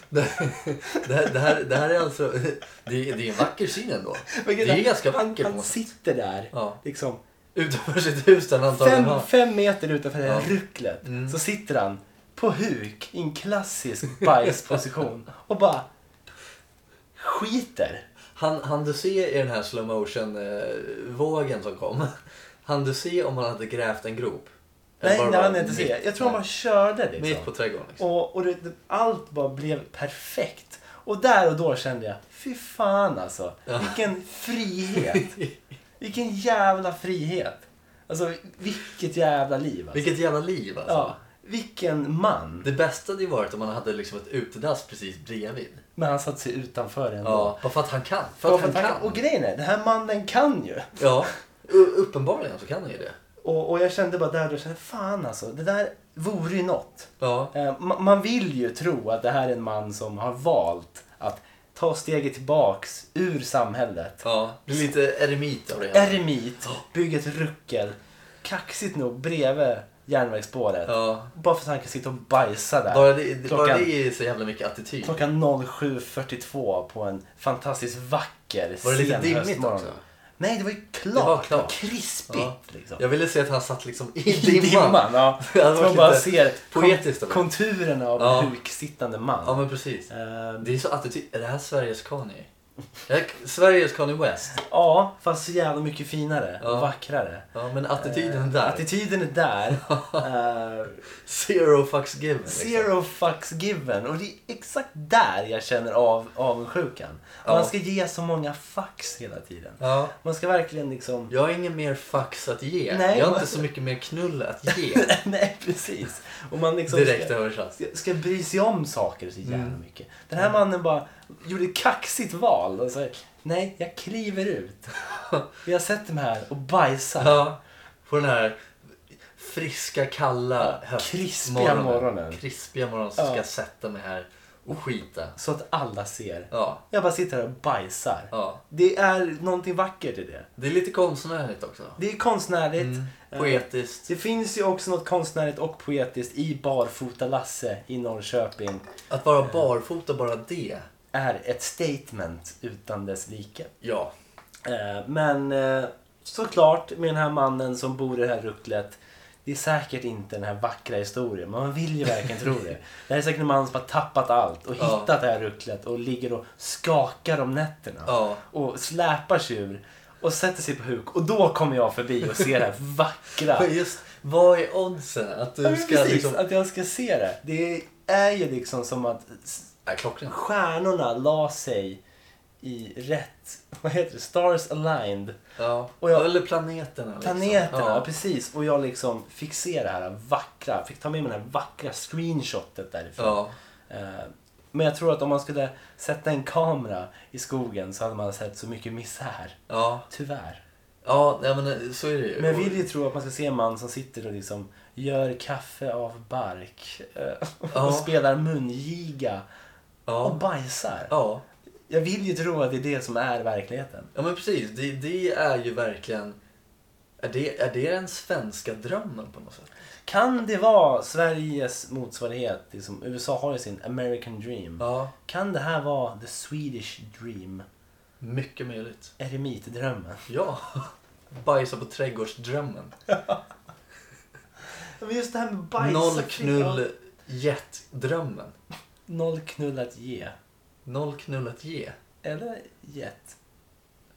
A: Det, det, här, det, här, det här är alltså... Det är, det är en vacker syn ändå.
C: Vilket
A: Det är ganska
C: han,
A: vackert på
C: Han
A: något sätt.
C: sitter där,
A: Ja.
C: liksom
A: Utanför sitt hus där han antagligen
C: fem,
A: har...
C: fem meter utanför det här
A: Ja.
C: rucklet.
A: Mm.
C: Så sitter han på huk i en klassisk bajsposition och bara skiter.
A: Han, han du se i den här slow motion eh, vågen som kom? Han du se om han hade grävt en grop? Eller
C: Nej,
A: var det
C: det hann
A: bara
C: jag inte se.
A: mitt-
C: Jag tror han bara
A: nej,
C: körde liksom.
A: Mitt på trädgården liksom.
C: Och, och det, det, allt bara blev perfekt. Och där och då kände jag, fy fan alltså.
A: Ja.
C: Vilken frihet. Vilken jävla frihet. Alltså vilket jävla liv alltså.
A: Vilket jävla liv alltså.
C: Ja, vilken man.
A: Det bästa hade ju varit om man hade liksom ett utedass precis bredvid.
C: Men han satt sig utanför ändå.
A: Ja, bara för att han kan. För att han kan.
C: Och grejen är, den här mannen kan ju.
A: Ja, u- uppenbarligen så kan han ju det.
C: Och, och jag kände bara där och då, jag kände, fan alltså, det där vore ju något.
A: Ja,
C: Eh, ma- man vill ju tro att det här är en man som har valt att ta steget tillbaks ur samhället.
A: ja. Blir lite eremit av det. hela.
C: Eremit, bygga ett ruckel, kaxigt nog bredvid järnvägsspåret.
A: Ja.
C: Bara för att han kan sitta och bajsa där.
A: Bara det,
C: Klockan-
A: bara det är så jävla mycket attityd.
C: Klockan 07.42 på en fantastiskt vacker
A: Var det lite
C: sen
A: dimmigt
C: höstmorgon.
A: också?
C: Nej, det var ju klart.
A: Det var klart.
C: Krispigt
A: Ja.
C: liksom.
A: Jag ville se att han satt liksom i
C: I
A: dimman.
C: ja.
A: Det hade
C: Så
A: varit
C: man bara
A: lite
C: ser
A: poetiskt av det.
C: konturerna av
A: Ja.
C: en huksittande man.
A: Ja men precis.
C: Eh,
A: Det är så attityd. Är det här Sveriges Kanye? Är det Sveriges Kanye West?
C: ja, fast så jävla mycket finare
A: Ja.
C: och vackrare.
A: Ja men attityden är
C: Eh,
A: där.
C: Attityden är där. Eh,
A: Zero fucks given. liksom.
C: zero fucks given. Och det är exakt där jag känner av avundsjukan.
A: Ja.
C: Man ska ge så många fucks hela tiden.
A: Ja.
C: Man ska verkligen liksom...
A: Jag har ingen mer fax att ge.
C: Nej,
A: jag har
C: men-
A: inte så mycket mer knull att ge.
C: Nej, precis. Och man liksom
A: Direkt Mm.
C: ska,
A: översatt.
C: ska bry sig om saker så jävla mycket. Den här mannen bara gjorde ett kaxigt val. Och så här, Nej, jag kliver ut. Jag sätter mig här och bajsar.
A: Ja. På den här friska, kalla
C: Ja,
A: höst-
C: krispiga
A: morgonen.
C: morgonen.
A: Krispiga morgonen så
C: Ja.
A: ska jag sätta mig här och skita.
C: Så att alla ser.
A: Ja.
C: Jag bara sitter här och bajsar.
A: ja.
C: Det är någonting vackert i det.
A: Det är lite konstnärligt också.
C: Det är konstnärligt. Eh,
A: Poetiskt.
C: Det finns ju också något konstnärligt och poetiskt i Barfota-Lasse i Norrköping.
A: Att vara barfota, bara det.
C: Är ett statement utan dess like.
A: Ja.
C: Eh, Men eh, såklart med den här mannen som bor i det här rucklet. Det är säkert inte den här vackra historien, men man vill ju verkligen tro det. Det här är säkert en man som har tappat allt och
A: Ja.
C: hittat det här rucklet och ligger och skakar om nätterna.
A: Ja.
C: Och släpar sig ur och sätter sig på huk. Och då kommer jag förbi och ser det här vackra.
A: Men just, vad är oddsen att
C: Ja,
A: du
C: men
A: ska
C: precis,
A: liksom...
C: att jag ska se det. Det är ju liksom som att s-
A: Ja, klockrent.
C: stjärnorna la sig i rätt, vad heter det, stars aligned.
A: Ja.
C: Och jag-
A: Eller planeterna. Liksom.
C: Planeterna,
A: Ja.
C: precis. Och jag liksom fick se det här vackra, fick ta med mig det här vackra screenshotet därifrån.
A: ja.
C: Eh, Men jag tror att om man skulle sätta en kamera i skogen så hade man sett så mycket misär.
A: Ja.
C: Tyvärr.
A: Ja, nej, men eh, så är det ju.
C: Men jag vill ju tro att man ska se en man som sitter och liksom gör kaffe av bark eh, och
A: Ja.
C: spelar mungiga och
A: Ja.
C: bajsar.
A: Ja.
C: Jag vill ju tro att det är det som är verkligheten.
A: ja, men precis. Det, det är ju verkligen... Är det, är det den svenska drömmen på något sätt?
C: Kan det vara Sveriges motsvarighet? Liksom, USA har ju sin American dream.
A: Ja,
C: Kan det här vara the Swedish dream?
A: mycket möjligt.
C: Eremitdrömmen?
A: Ja. Bajsa på trädgårdsdrömmen.
C: Men just det här med
A: Noll knull jet-drömmen.
C: Noll knull att ge.
A: Noll knull att ge.
C: Eller get.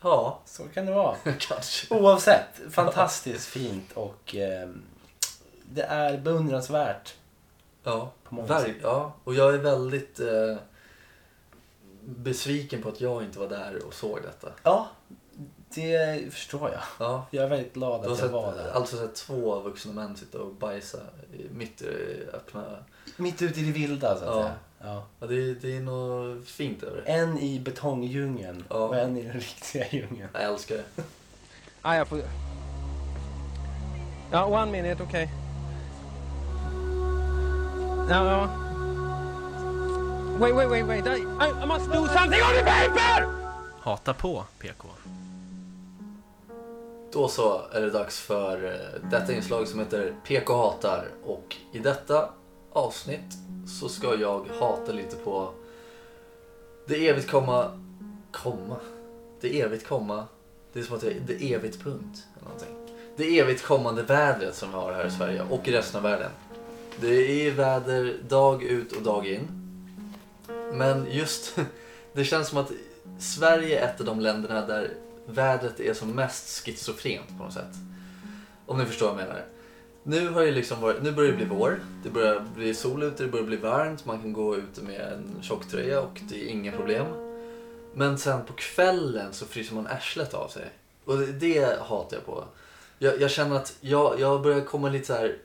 A: Ja,
C: Så kan det vara.
A: kanske.
C: Oavsett, fantastiskt fint och eh, det är beundransvärt.
A: Ja,
C: På många
A: Verk,
C: sätt.
A: ja. och jag är väldigt eh, besviken på att jag inte var där och såg detta.
C: Ja, det förstår jag.
A: Ja.
C: Jag är väldigt glad
A: Du har
C: att jag var
A: sett,
C: där.
A: alltså sett två vuxna män sitta och bajsa i- mitt i öppna...
C: Mitt ute i det vilda så att
A: Ja.
C: säga. Ja.
A: Ja, det, det är något fint över det.
C: En i betongdjungeln
A: Ja.
C: och en i den riktiga djungeln.
A: Jag älskar det.
D: Ah, jag får... Ja, one minute, okej. Ja, ja. Wait, wait, wait, wait. I, I must do something on the paper!
C: Hata på PK.
A: Då så är det dags för eh, detta inslag som heter PK hatar och i detta avsnitt så ska jag hata lite på det evigt komma, komma, det evigt komma, det är som att det det evigt punkt eller någonting. Det evigt kommande vädret som vi har här i Sverige och i resten av världen. Det är väder dag ut och dag in. Men just, det känns som att Sverige är ett av de länderna där vädret är som mest schizofrent på något sätt. Om ni förstår vad jag menar. Nu har det liksom varit, nu börjar det bli vår, det börjar bli sol ute, det börjar bli varmt, man kan gå ut med en tjocktröja och det är inga problem. Men sen på kvällen så fryser man arslet av sig. Och det, det hatar jag på. Jag, jag känner att jag, jag börjar komma lite så här...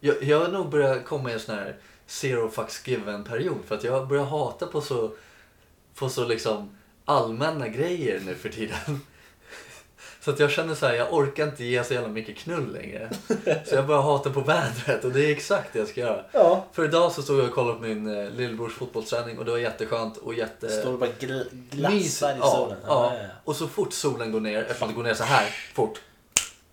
A: Jag, jag har nog börjat komma i en sån här zero fucks given-period för att jag börjar hata på så, på så liksom allmänna grejer nu för tiden. Så att jag känner så här, jag orkar inte ge så jävla mycket knull längre. Så jag börjar hata på vädret och det är exakt det jag ska göra.
C: Ja.
A: För idag så stod jag och kollade på min eh, lillebrors fotbollsträning och det var jätteskönt och jätte...
C: Står och bara gl-
A: Mys-
C: glassar i
A: ja,
C: solen.
A: ja. Och så fort solen går ner, eftersom det går ner så här fort,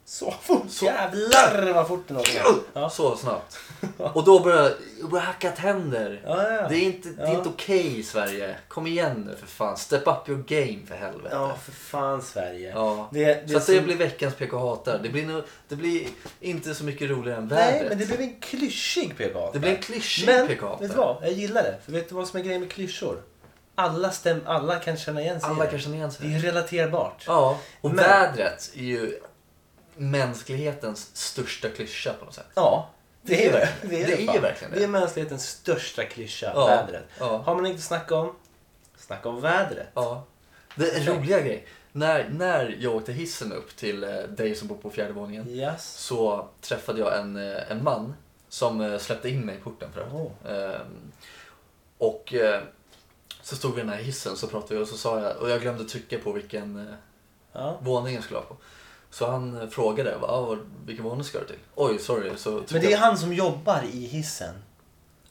C: Så fort!
A: Så-
C: Jävlar vad fort den åker. Ja.
A: så snabbt. Och då börjar jag- jag börjar hacka tänder.
C: Ja, ja, ja.
A: Det är inte, det är
C: Ja.
A: inte okej i Sverige. Kom igen nu för fan. Step up your game för helvete.
C: Ja, för fan Sverige.
A: Ja.
C: Det, det
A: så att
C: som-
A: det blir veckans PK hatar. Det blir, nog- det blir inte så mycket roligare än vädret.
C: Nej, men det blev en klyschig PK.
A: Det blir en klyschig
C: men,
A: PK.
C: vet du vad? Jag gillar det. För vet du vad som är grejen med klyschor? Alla, stäm, alla kan känna igen sig i
A: Alla
C: det.
A: kan känna igen sig.
C: Det är relaterbart.
A: Ja, och
C: Men-
A: vädret är ju mänsklighetens största klyscha på något sätt.
C: Ja, det är det.
A: Det är
C: fan.
A: verkligen det.
C: Det är mänsklighetens största klyscha,
A: Ja,
C: vädret.
A: ja.
C: Har man inget att snacka om, snacka om vädret.
A: Ja. Det är en roliga grej. När, när jag åkte hissen upp till eh, dig som bor på fjärde våningen
C: Yes.
A: så träffade jag en, eh, en man som eh, släppte in mig i porten för övrigt.
C: Oh.
A: Ehm, och eh, så stod vi i den här hissen så pratade vi och så sa jag, och jag glömde trycka på vilken eh,
C: Ja.
A: våning jag skulle ha på. Så han eh, frågade, jag bara, ah, vad- vilken våning ska du till? Oj, sorry. Så
C: Men
A: tryckte
C: det är
A: jag-
C: han som jobbar i hissen.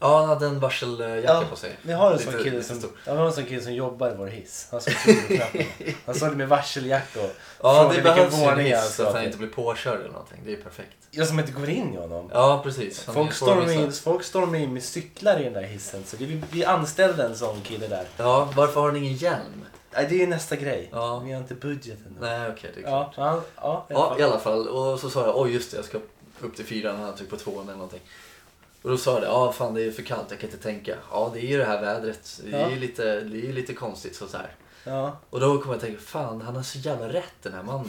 A: Ja, han hade en varseljacka
C: Ja,
A: på sig.
C: Vi har en
A: Lite-
C: sån kille
A: lite
C: som,
A: stor.
C: ja, vi har en sån kille som jobbar i vår hiss. Han såg till knappen. Han såg det med varseljacka och
A: Ja,
C: frågade
A: det
C: vilken
A: behövs ju en
C: våning alltså han
A: hiss så
C: ska
A: att han
C: till.
A: inte blir påkörd eller någonting. Det är perfekt.
C: Jag som inte går in i honom.
A: Ja, precis. Han är
C: Folk
A: ju svår att
C: stormar, in,
A: missa.
C: folk stormar in med cyklar i den där hissen. Så det, vi, vi anställde en sån kille där.
A: Ja, varför har han ingen hjälm?
C: Nej, det är nästa grej.
A: Ja.
C: Vi har inte budgeten. då.
A: Nej, okej, det är klart.
C: Ja, så han, ja, i alla
A: Ja,
C: fall.
A: i alla fall. Och så sa jag, oj just det, jag ska upp till fyran och han tryckte på tvåan eller någonting. Och då sa jag det, ja fan det är för kallt, jag kan inte tänka. Ja, det är ju det här vädret. Det är ju
C: Ja.
A: lite, det är ju lite konstigt så, så här.
C: ja.
A: Och då kom jag att tänka, fan han har så jävla rätt den här mannen.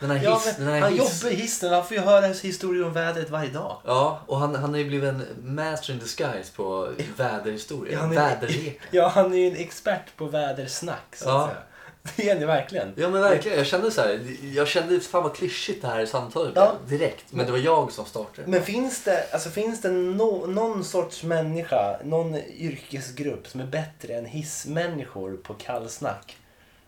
A: Den här
C: Ja,
A: hiss,
C: men
A: den här
C: han
A: hiss.
C: jobbar i hissen, han får ju höra historier om vädret varje dag.
A: Ja, och han, han har ju blivit en master in disguise på väderhistoria.
C: Ja, han är-
A: Väderleken.
C: Ja, han är ju en expert på vädersnack så att
A: Ja.
C: säga. Det är han ju verkligen.
A: Ja men verkligen, jag kände så här, jag kände fan vad klyschigt det här samtalet blev
C: Ja.
A: direkt. Men det var jag som startade.
C: Men finns det, alltså, finns det no, någon sorts människa, någon yrkesgrupp som är bättre än hissmänniskor på kallsnack?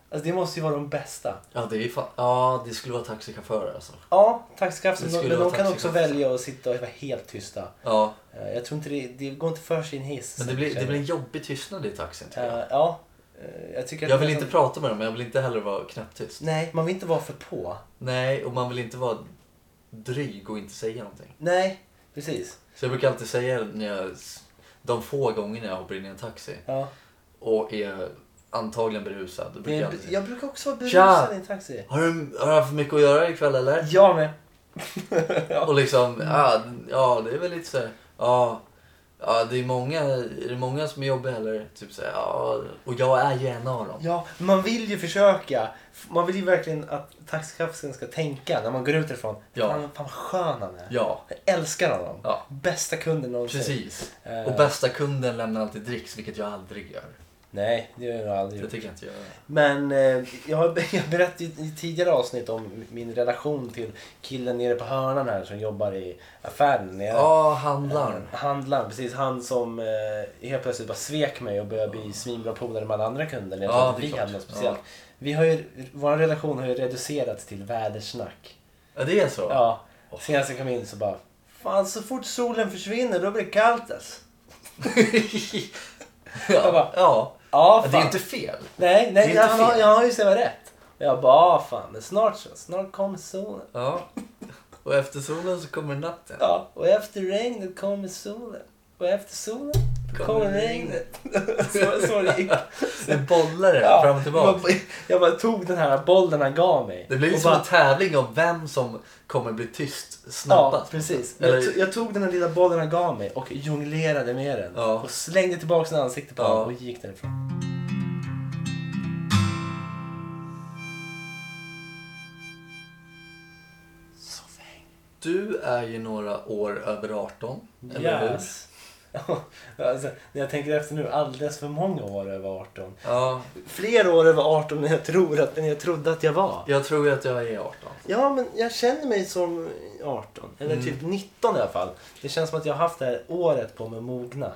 C: Alltså det måste ju vara de bästa.
A: Ja, det är fan, ja det skulle vara taxichaufförer alltså.
C: Ja, taxichaufförer,
A: Det
C: men
A: skulle
C: de
A: vara
C: kan också
A: taxichaufförer.
C: välja att sitta och vara helt tysta.
A: Ja,
C: Eh, Jag tror inte det, det går inte för sig i en hiss.
A: men det blir, det blir en jobbig tystnad i taxin tycker jag.
C: Eh, Ja, eh, jag tycker att
A: Jag
C: det
A: vill
C: är
A: inte
C: så-
A: prata med dem, men jag vill inte heller vara knäpptyst.
C: Nej, man vill inte vara för på.
A: Nej, och man vill inte vara dryg och inte säga någonting.
C: Nej, precis.
A: Så jag brukar alltid säga när jag, de få gångerna jag hoppar in i en taxi
C: Ja.
A: och är antagligen berusad. Då brukar jag
C: Jag,
A: alltid säga,
C: jag brukar också vara
A: Tja!
C: berusad i en taxi.
A: har du, har du haft mycket att göra ikväll eller?
C: Jag med.
A: Och liksom, ja, ja det är väl lite så här, ja, ja det är många, är det många som är jobbiga eller? Typ så här, ja, och jag är ju en av dem.
C: Ja, man vill ju försöka. Man vill ju verkligen att taxichauffören ska tänka när man går ut ifrån.
A: Ja.
C: Fan, fan vad skön han är.
A: Ja,
C: Jag älskar honom.
A: Ja.
C: Bästa kunden någonsin.
A: precis.
C: Eh.
A: Och bästa kunden lämnar alltid dricks, vilket jag aldrig gör.
C: Nej, det gör jag aldrig.
A: Det tycker jag inte jag gör.
C: Men eh, jag, har- jag berättade ju i tidigare avsnitt om min relation till killen nere på hörnan här som jobbar i affären. Nere.
A: Ja,
C: Eh.
A: handlaren.
C: Handlaren, precis. Han som eh, helt plötsligt bara svek mig och började bli svinbra polare med alla andra kunder. Jag
A: Ja,
C: ja,
A: det är
C: vi
A: klart.
C: hade något speciellt. Vi har ju, vår relation har ju reducerats till vädersnack.
A: Ja, det är så?
C: Ja. Senast jag kom in så bara... Fan, så fort solen försvinner då blir det kallt alltså. Jag
A: ja.
C: bara-
A: ja.
C: Ja,
A: Ja,
C: fan.
A: det är ju inte fel.
C: Nej, nej,
A: det är inte
C: han, har,
A: fel.
C: jag har ju så jävla rätt. Och jag bara, ah, fan, men snart så. Snart kommer solen.
A: Ja. Och efter solen så kommer natten.
C: Ja, och efter regnet kommer solen. Och efter solen kommer, regnet. så, så det gick.
A: Det bollar det
C: Ja,
A: fram och tillbaka.
C: jag bara- Jag bara tog den här bollen han gav mig.
A: Det blir ju
C: och
A: som
C: bara-
A: en tävling om vem som kommer bli tyst
C: Ja,
A: snabbast.
C: precis.
A: Eller-
C: Jag, to- jag tog den här lilla bollen han gav mig och jonglerade med den.
A: Ja.
C: Och slängde tillbaka den i ansiktet på
A: Ja.
C: honom och gick därifrån.
A: Du är ju några år över 18, eller hur?
C: alltså, när jag tänker efter nu, alldeles för många år över 18.
A: Ja,
B: Fler år över 18 än jag, tror att, än jag trodde att jag var.
A: jag tror att jag är 18.
B: Ja, men jag känner mig som
C: 18, eller typ 19 i alla fall. Det känns som att jag har haft det här året på mig att mogna.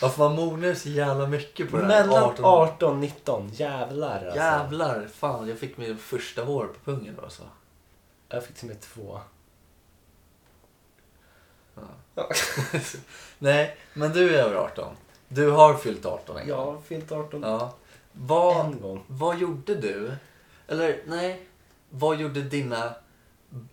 A: Varför man mognar ju så jävla mycket på det här.
C: Mellan
A: 18.
C: 18 och 19, jävlar alltså.
A: Jävlar, fan jag fick min första hår på pungen då alltså.
C: Jag fick till och med två.
A: Nej, men du är över 18. Du har fyllt 18 en gång.
C: Jag har fyllt 18
A: Ja. Vad,
C: en gång.
A: vad gjorde du? Eller nej, vad gjorde dina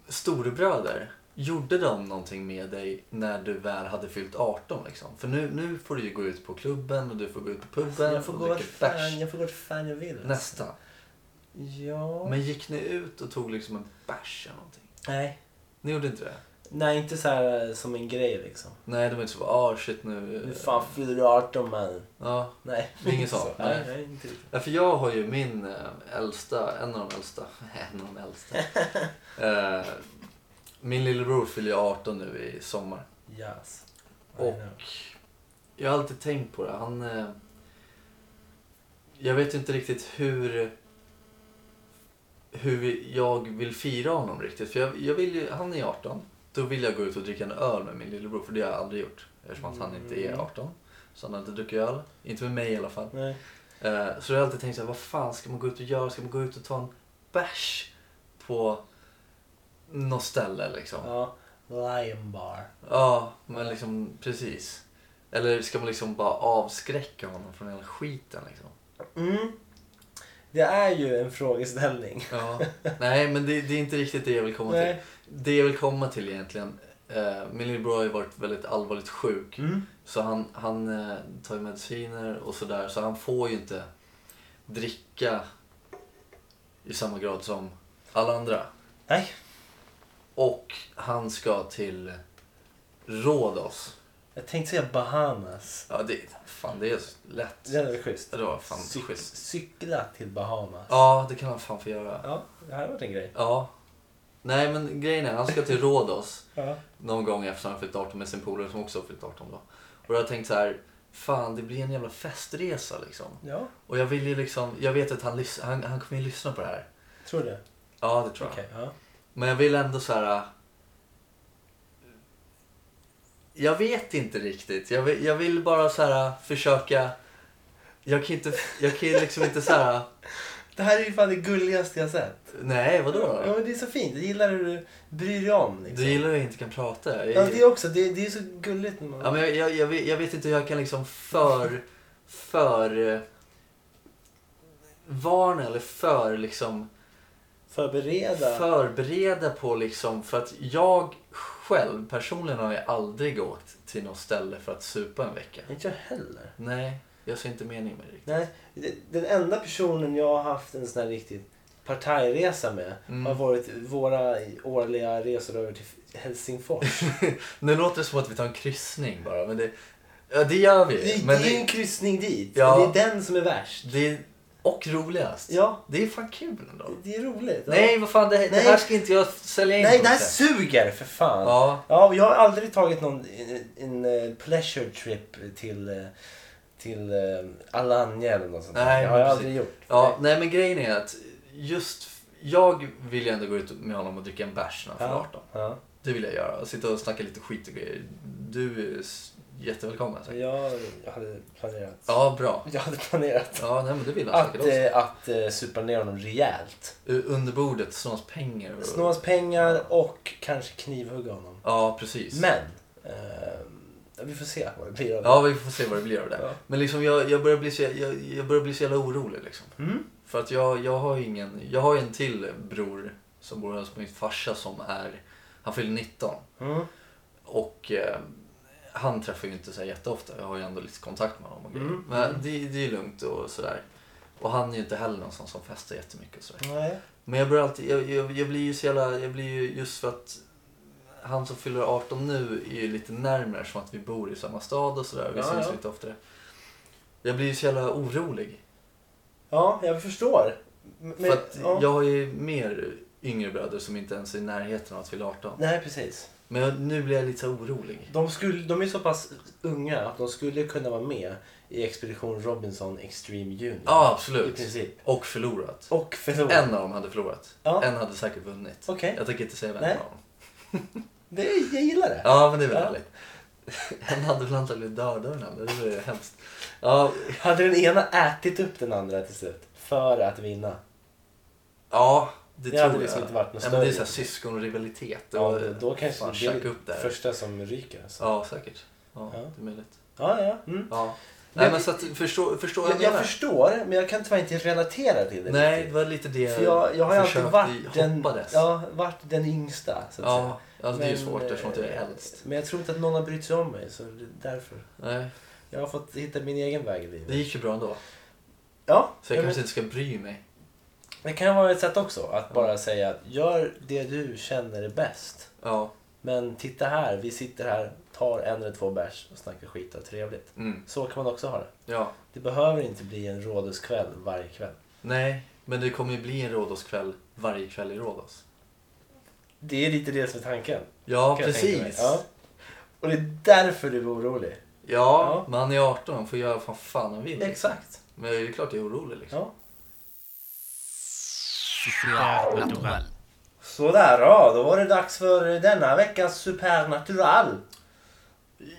A: storebröder? Gjorde de någonting med dig när du väl hade fyllt 18 liksom? För nu, nu får du ju gå ut på klubben och du får gå ut på puben
C: Alltså, Jag får,
A: och
C: gå vart
A: dricka bärs.
C: fan, jag får gå vart fan jag vill. alltså.
A: Nästan.
C: Ja.
A: Men gick ni ut och tog liksom en bärs eller någonting?
C: Nej.
A: Ni gjorde inte det?
C: Nej, inte så här eh, som en grej liksom.
A: Nej, de var inte så bara ah shit nu...
C: Nu fan fyller du 18 man.
A: Ja,
C: Nej.
A: Inget sånt,
C: Nej,
A: nej.
C: nej, inte riktigt.
A: Ja, för jag har ju min eh, äldsta, en av de äldsta, en av de äldsta. Eh, min lillebror fyller ju 18 nu i sommar.
C: Yes. I
A: Och
C: know.
A: jag har alltid tänkt på det. Han, eh, jag vet inte riktigt hur, hur vi- jag vill fira honom riktigt. För jag, jag vill ju, han är 18. Då vill jag gå ut och dricka en öl med min lillebror, för det har jag aldrig gjort. Eftersom att han inte
C: Mm.
A: är 18. Så han har inte druckit öl. Inte med mig i alla fall.
C: Nej.
A: Eh, Så jag har alltid tänkt så här, vad fan ska man gå ut och göra? Ska man gå ut och ta en bärs på något ställe liksom? Ja,
C: Ja. Lion bar.
A: men liksom precis. Eller ska man liksom bara avskräcka honom från hela skiten liksom?
C: Mm. Det är ju en frågeställning.
A: Ja. Nej, men det, det är inte riktigt det jag vill komma
C: Nej.
A: till. Det jag vill komma till egentligen, eh, min lillebror har ju varit väldigt allvarligt sjuk.
C: Mm.
A: Så han, han eh, tar ju mediciner och sådär, så han får ju inte dricka i samma grad som alla andra.
C: Nej.
A: Och han ska till Rhodos.
C: Jag tänkte säga Bahamas.
A: Ja, det, fan, det är så lätt.
C: Det hade varit schysst.
A: Det var fan
C: Cyk-
A: schysst.
C: Cykla till Bahamas.
A: Ja, det kan han fan få göra.
C: Ja, det här var en grej.
A: Ja. Nej, men grejen är, han ska till Rhodos.
C: Ja.
A: någon gång efter han fyllt 18 med sin polare som också har fyllt 18 då. Och jag har tänkt så här, fan det blir en jävla festresa liksom.
C: Ja,
A: Och jag vill ju liksom, jag vet att han, lys- han, han kommer ju lyssna på det här.
C: tror du?
A: Ja, det tror jag.
C: Okej, ja.
A: Men jag vill ändå så här. äh, Jag vet inte riktigt. Jag vill, jag vill bara så här äh, försöka. Jag kan inte, jag kan ju liksom inte så här. äh,
C: Det här är ju fan det gulligaste jag sett.
A: Nej, vadå?
C: Ja, men det är så fint. Jag gillar hur du bryr dig om. Liksom.
A: Du gillar hur jag inte kan prata. Jag,
C: Ja, det är också. Det, det är så gulligt. När man...
A: Ja, men jag, jag, jag, vet, jag vet inte hur jag kan liksom för... för eh, varna eller för liksom
C: Förbereda.
A: förbereda på liksom för att jag själv personligen har jag aldrig åkt till något ställe för att supa en vecka.
C: Inte jag heller.
A: Nej, jag ser inte meningen med det riktigt.
C: Nej, det- den enda personen jag har haft en sån här riktigt partajresa med
A: Mm.
C: har varit våra årliga resor över till Helsingfors.
A: Nu låter det som att vi tar en kryssning bara men det, ja, det gör vi.
C: Det,
A: men
C: det är ju en kryssning dit.
A: Ja.
C: Och Det är den som är värst.
A: det är, och roligast.
C: Ja.
A: Det är fan kul ändå.
C: Det är roligt. ja.
A: Nej vad fan det, det
C: Nej.
A: här ska inte jag sälja in
C: Nej,
A: på
C: det här
A: något sätt.
C: suger för fan.
A: Ja.
C: Ja, och jag har aldrig tagit någon en, en eh, pleasure trip till, eh, till eh, Alanya eller något sånt. där.
A: Nej,
C: det har jag
A: precis.
C: aldrig gjort.
A: Ja, nej men grejen är att just jag vill ju ändå gå ut med honom och dricka en bärs när han fyller
C: Ja.
A: 18.
C: Ja,
A: Det vill jag göra. Och sitta och snacka lite skit och grejer. Du är s- jättevälkommen. säkert.
C: jag hade planerat.
A: Ja, bra.
C: Jag hade planerat
A: Ja, nej men det vill han
C: att,
A: säkert också.
C: eh, att eh, supa ner honom rejält.
A: U- Under bordet, snå hans pengar. och-
C: Snå hans pengar och kanske knivhugga honom.
A: Ja, precis.
C: Men, eh, vi får se vad det blir av det.
A: Ja, vi får se vad det blir av det.
C: Ja.
A: Men liksom jag, jag, börjar bli så, jag, jag börjar bli så jävla orolig liksom.
C: Mm.
A: För att jag, jag har ju ingen, jag har ju en till bror som bor hos min farsa som är, han fyller 19.
C: Mm.
A: Och eh, han träffar ju inte så här jätteofta. Jag har ju ändå lite kontakt med honom och
C: Mm.
A: grejer. Men det, det är lugnt och sådär. Och han är ju inte heller någon sån som festar jättemycket och sådär.
C: Nej.
A: Men jag börjar alltid, jag, jag, jag blir ju så jävla, jag blir ju just för att han som fyller 18 nu är ju lite närmare som att vi bor i samma stad och sådär. Vi
C: Ja,
A: syns
C: ja.
A: lite oftare. Jag blir ju så jävla orolig.
C: Ja, jag förstår. Men,
A: för att
C: ja.
A: jag har ju mer yngre bröder som inte ens är i närheten av att fylla 18.
C: Nej, precis.
A: Men jag, nu blir jag lite så här orolig.
C: De, skulle, de är så pass unga att de skulle kunna vara med i Expedition Robinson Extreme Junior.
A: Ja,
C: I
A: absolut.
C: princip.
A: Och förlorat.
C: Och förlora.
A: En av dem hade förlorat.
C: Ja.
A: En hade säkert vunnit.
C: Okej.
A: Jag tänker inte säga vem
C: Nej.
A: det var.
C: Det, jag gillar det.
A: Ja, men det är väl
C: Ja.
A: härligt. En hade väl antagligen dödat den andra. Det är hemskt. Ja,
C: Hade den ena ätit upp den andra till slut? För att vinna.
A: ja det,
C: Det
A: tror
C: hade
A: jag.
C: liksom inte varit något
A: Nej, men det är så
C: större.
A: här syskonrivalitet.
C: Ja, då kanske
A: eh, fan,
C: det
A: käka
C: blir
A: upp det här.
C: första som ryker. Alltså.
A: Ja, säkert. Ja,
C: Ja.
A: det är möjligt.
C: Ja, ja. Mm.
A: Ja.
C: Men-
A: Nej, men så att, förstå, förstå vad jag
C: Jag,
A: menar.
C: jag förstår, men jag kan tyvärr inte relatera till det.
A: Nej, det
C: riktigt.
A: var lite det
C: För jag, jag har ju alltid
A: försökte
C: varit den,
A: hoppades. Ja,
C: ja, varit den yngsta. Så att säga.
A: ja alltså, det är ju
C: Men,
A: svårt eftersom att jag är
C: eh,
A: äldst.
C: Men jag tror inte att någon har brytt sig om mig, så det är därför.
A: Nej,
C: Jag har fått hitta min egen väg i
A: det
C: livet.
A: gick ju bra ändå.
C: Ja,
A: Så jag
C: ja,
A: kanske inte ska bry mig.
C: men det kan vara ett sätt också. Att bara säga att gör det du känner är bäst.
A: Ja,
C: Men titta här, vi sitter här, tar en eller två bärs och snackar skit och har trevligt.
A: mm,
C: Så kan man också ha det.
A: ja.
C: Det behöver inte bli en rådhuskväll varje kväll.
A: Nej, men det kommer ju bli en Rhodos-kväll varje kväll i Rhodos.
C: Det är lite det som är tanken.
A: Ja,
C: kan jag tänka mig.
A: precis.
C: Ja.
A: Ja.
C: Och det är därför du är orolig. Ja.
A: men han är 18, han får göra vad fan fan han vill.
C: Exakt.
A: Men det är klart jag är orolig liksom.
C: Ja. Sådär ja, då var det dags för denna veckas Supernatural.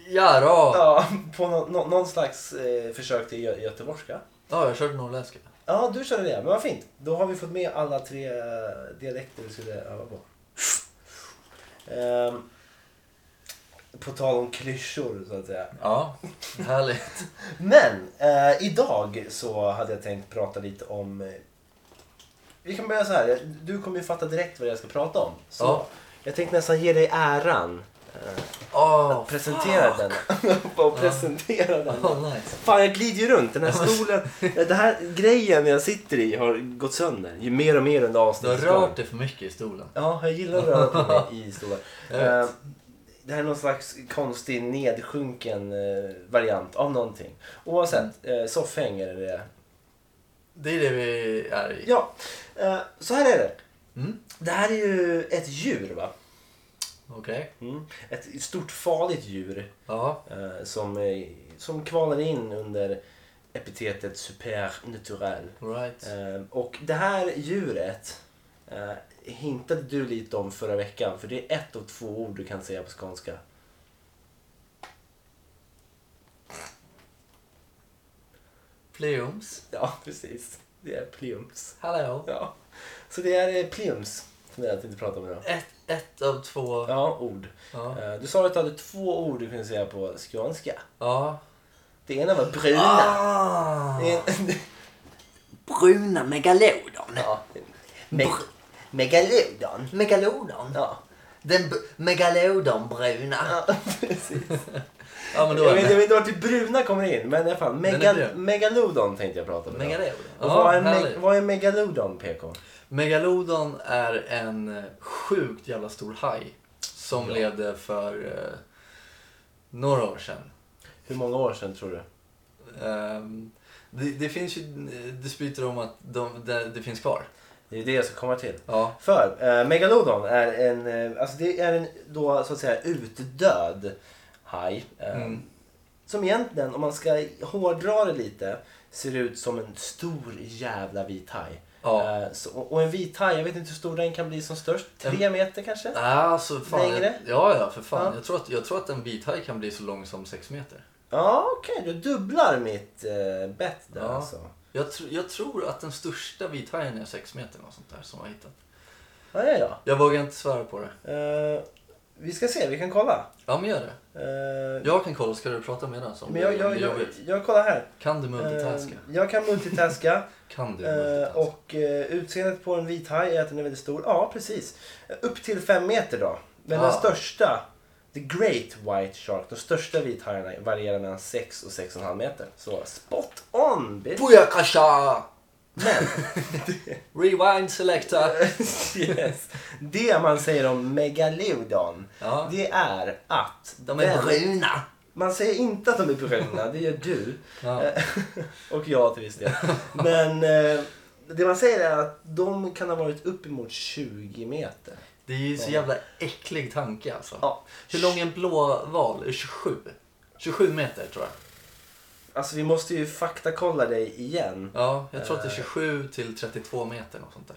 A: Ja, då.
C: Ja, på nå- nå- någon slags eh, försök till gö- göteborgska.
A: ja jag körde norrländska.
C: Ja, du körde det. Men vad fint. Då har vi fått med alla tre eh, dialekter vi skulle öva på. Ehm, på tal om klyschor så att säga.
A: Ja, härligt.
C: Men eh, idag så hade jag tänkt prata lite om... eh, Vi kan börja så här. Du kommer ju fatta direkt vad jag ska prata om. Så
A: Ja.
C: Jag tänkte nästan ge dig äran.
A: Åh,
C: att presentera den. och presentera den.
A: oh, nice.
C: Fan, jag glider ju runt. Den här stolen... den här grejen jag sitter i har gått sönder. Ju mer och mer under
A: Du har
C: avsnittet.
A: rört dig för mycket i stolen.
C: Ja, jag gillar att röra på mig i stolar.
A: Jag vet.
C: Eh, Det här är någon slags konstig nedsjunken eh, variant av någonting. Oavsett,
A: Mm.
C: eh, soffhäng eller det.
A: Det är det vi är i.
C: Ja, eh, så här är det.
A: Mm.
C: Det här är ju ett djur va?
A: Okej.
C: Mm. Ett stort farligt djur
A: Ja.
C: eh, som, eh, som kvalar in under epitetet supernatural.
A: Right.
C: Eh, och det här djuret eh, hintade du lite om förra veckan för det är ett av två ord du kan säga på skånska.
A: Pleums.
C: Ja, precis. Det är pliums.
A: Hallå.
C: Ja. Så det är eh, pliums som jag tänkte prata om idag.
A: Ett, ett av två. Ja.
C: Ja, ord.
A: Ja.
C: Eh, Du sa att du hade två ord du kunde säga på skånska.
A: ja.
C: Det ena var bruna.
A: Ah.
C: Det en-
A: Bruna megalodon.
C: ja. Me- Megalodon.
A: Megalodon.
C: Ja.
A: Den b- megalodonbruna.
C: ja, precis.
A: Ja, men då
C: Jag
A: är
C: vet, jag
A: det.
C: vet inte vart det bruna kommer in, men i alla fall.
A: är
C: Mega,
A: brun.
C: megalodon tänkte jag prata om. idag.
A: Megalodon.
C: Och vad, är
A: Ja,
C: me-
A: härligt.
C: vad är megalodon, PK?
A: Megalodon är en eh, sjukt jävla stor haj som
C: Ja.
A: levde för eh, några år sedan.
C: Hur många år sedan tror du?
A: Ehm, det, det finns ju eh, dispyter om att de, det, det finns kvar.
C: Det är det jag ska komma till.
A: Ja.
C: För eh, megalodon är en, eh, alltså det är en då så att säga utdöd haj. Eh,
A: Mm.
C: Som egentligen, om man ska hårdra det lite, ser ut som en stor jävla vit haj.
A: ja.
C: Eh, så, och en vit haj, jag vet inte hur stor den kan bli som störst. Tre meter kanske?
A: Alltså, fan,
C: Längre?
A: Jag, ja, ja, för fan.
C: Ja.
A: Jag, tror att, jag tror att en vithaj kan bli så lång som sex meter.
C: Ja, okej. Du dubblar mitt eh, bett där
A: Ja.
C: alltså.
A: Jag, tr- jag tror att den största vithajen är sex meter, något sånt där som jag har hittat.
C: Ja, ja, ja.
A: Jag vågar inte svära på det.
C: Eh, vi ska se, vi kan kolla.
A: Ja, men gör det.
C: Eh,
A: Jag kan kolla, ska du prata med den som
C: men jag, jag, jag,
A: jobbigt?
C: jag kollar här.
A: Kan du
C: Eh,
A: multitaska?
C: jag kan multitaska.
A: Kan du
C: Eh,
A: multitaska?
C: och eh, utseendet på en vit haj är att den är väldigt stor. Ja, precis. Eh, Upp till fem meter då. Men den
A: Ah.
C: största, the great white shark, de största vithajarna varierar mellan 6 och 6,5 meter. Så spot on! bitch.
A: Booyakasha!
C: Men,
A: Rewind eh. selector!
C: yes. Det man säger om megalodon,
A: Ja.
C: det är att
A: De är
C: den-
A: bruna!
C: Man säger inte att de är bruna, det gör du.
A: Ja.
C: Eh, och jag till viss del. Men eh,
B: Det,
C: Det man säger är att de kan ha varit uppemot 20 meter.
A: Det är ju så jävla äcklig tanke alltså.
B: ja.
A: Hur lång är en blåval? 27? 27 meter tror jag.
B: Alltså vi måste ju faktakolla dig igen.
A: Ja, jag tror
C: Eh.
A: att det är 27 till 32 meter och sånt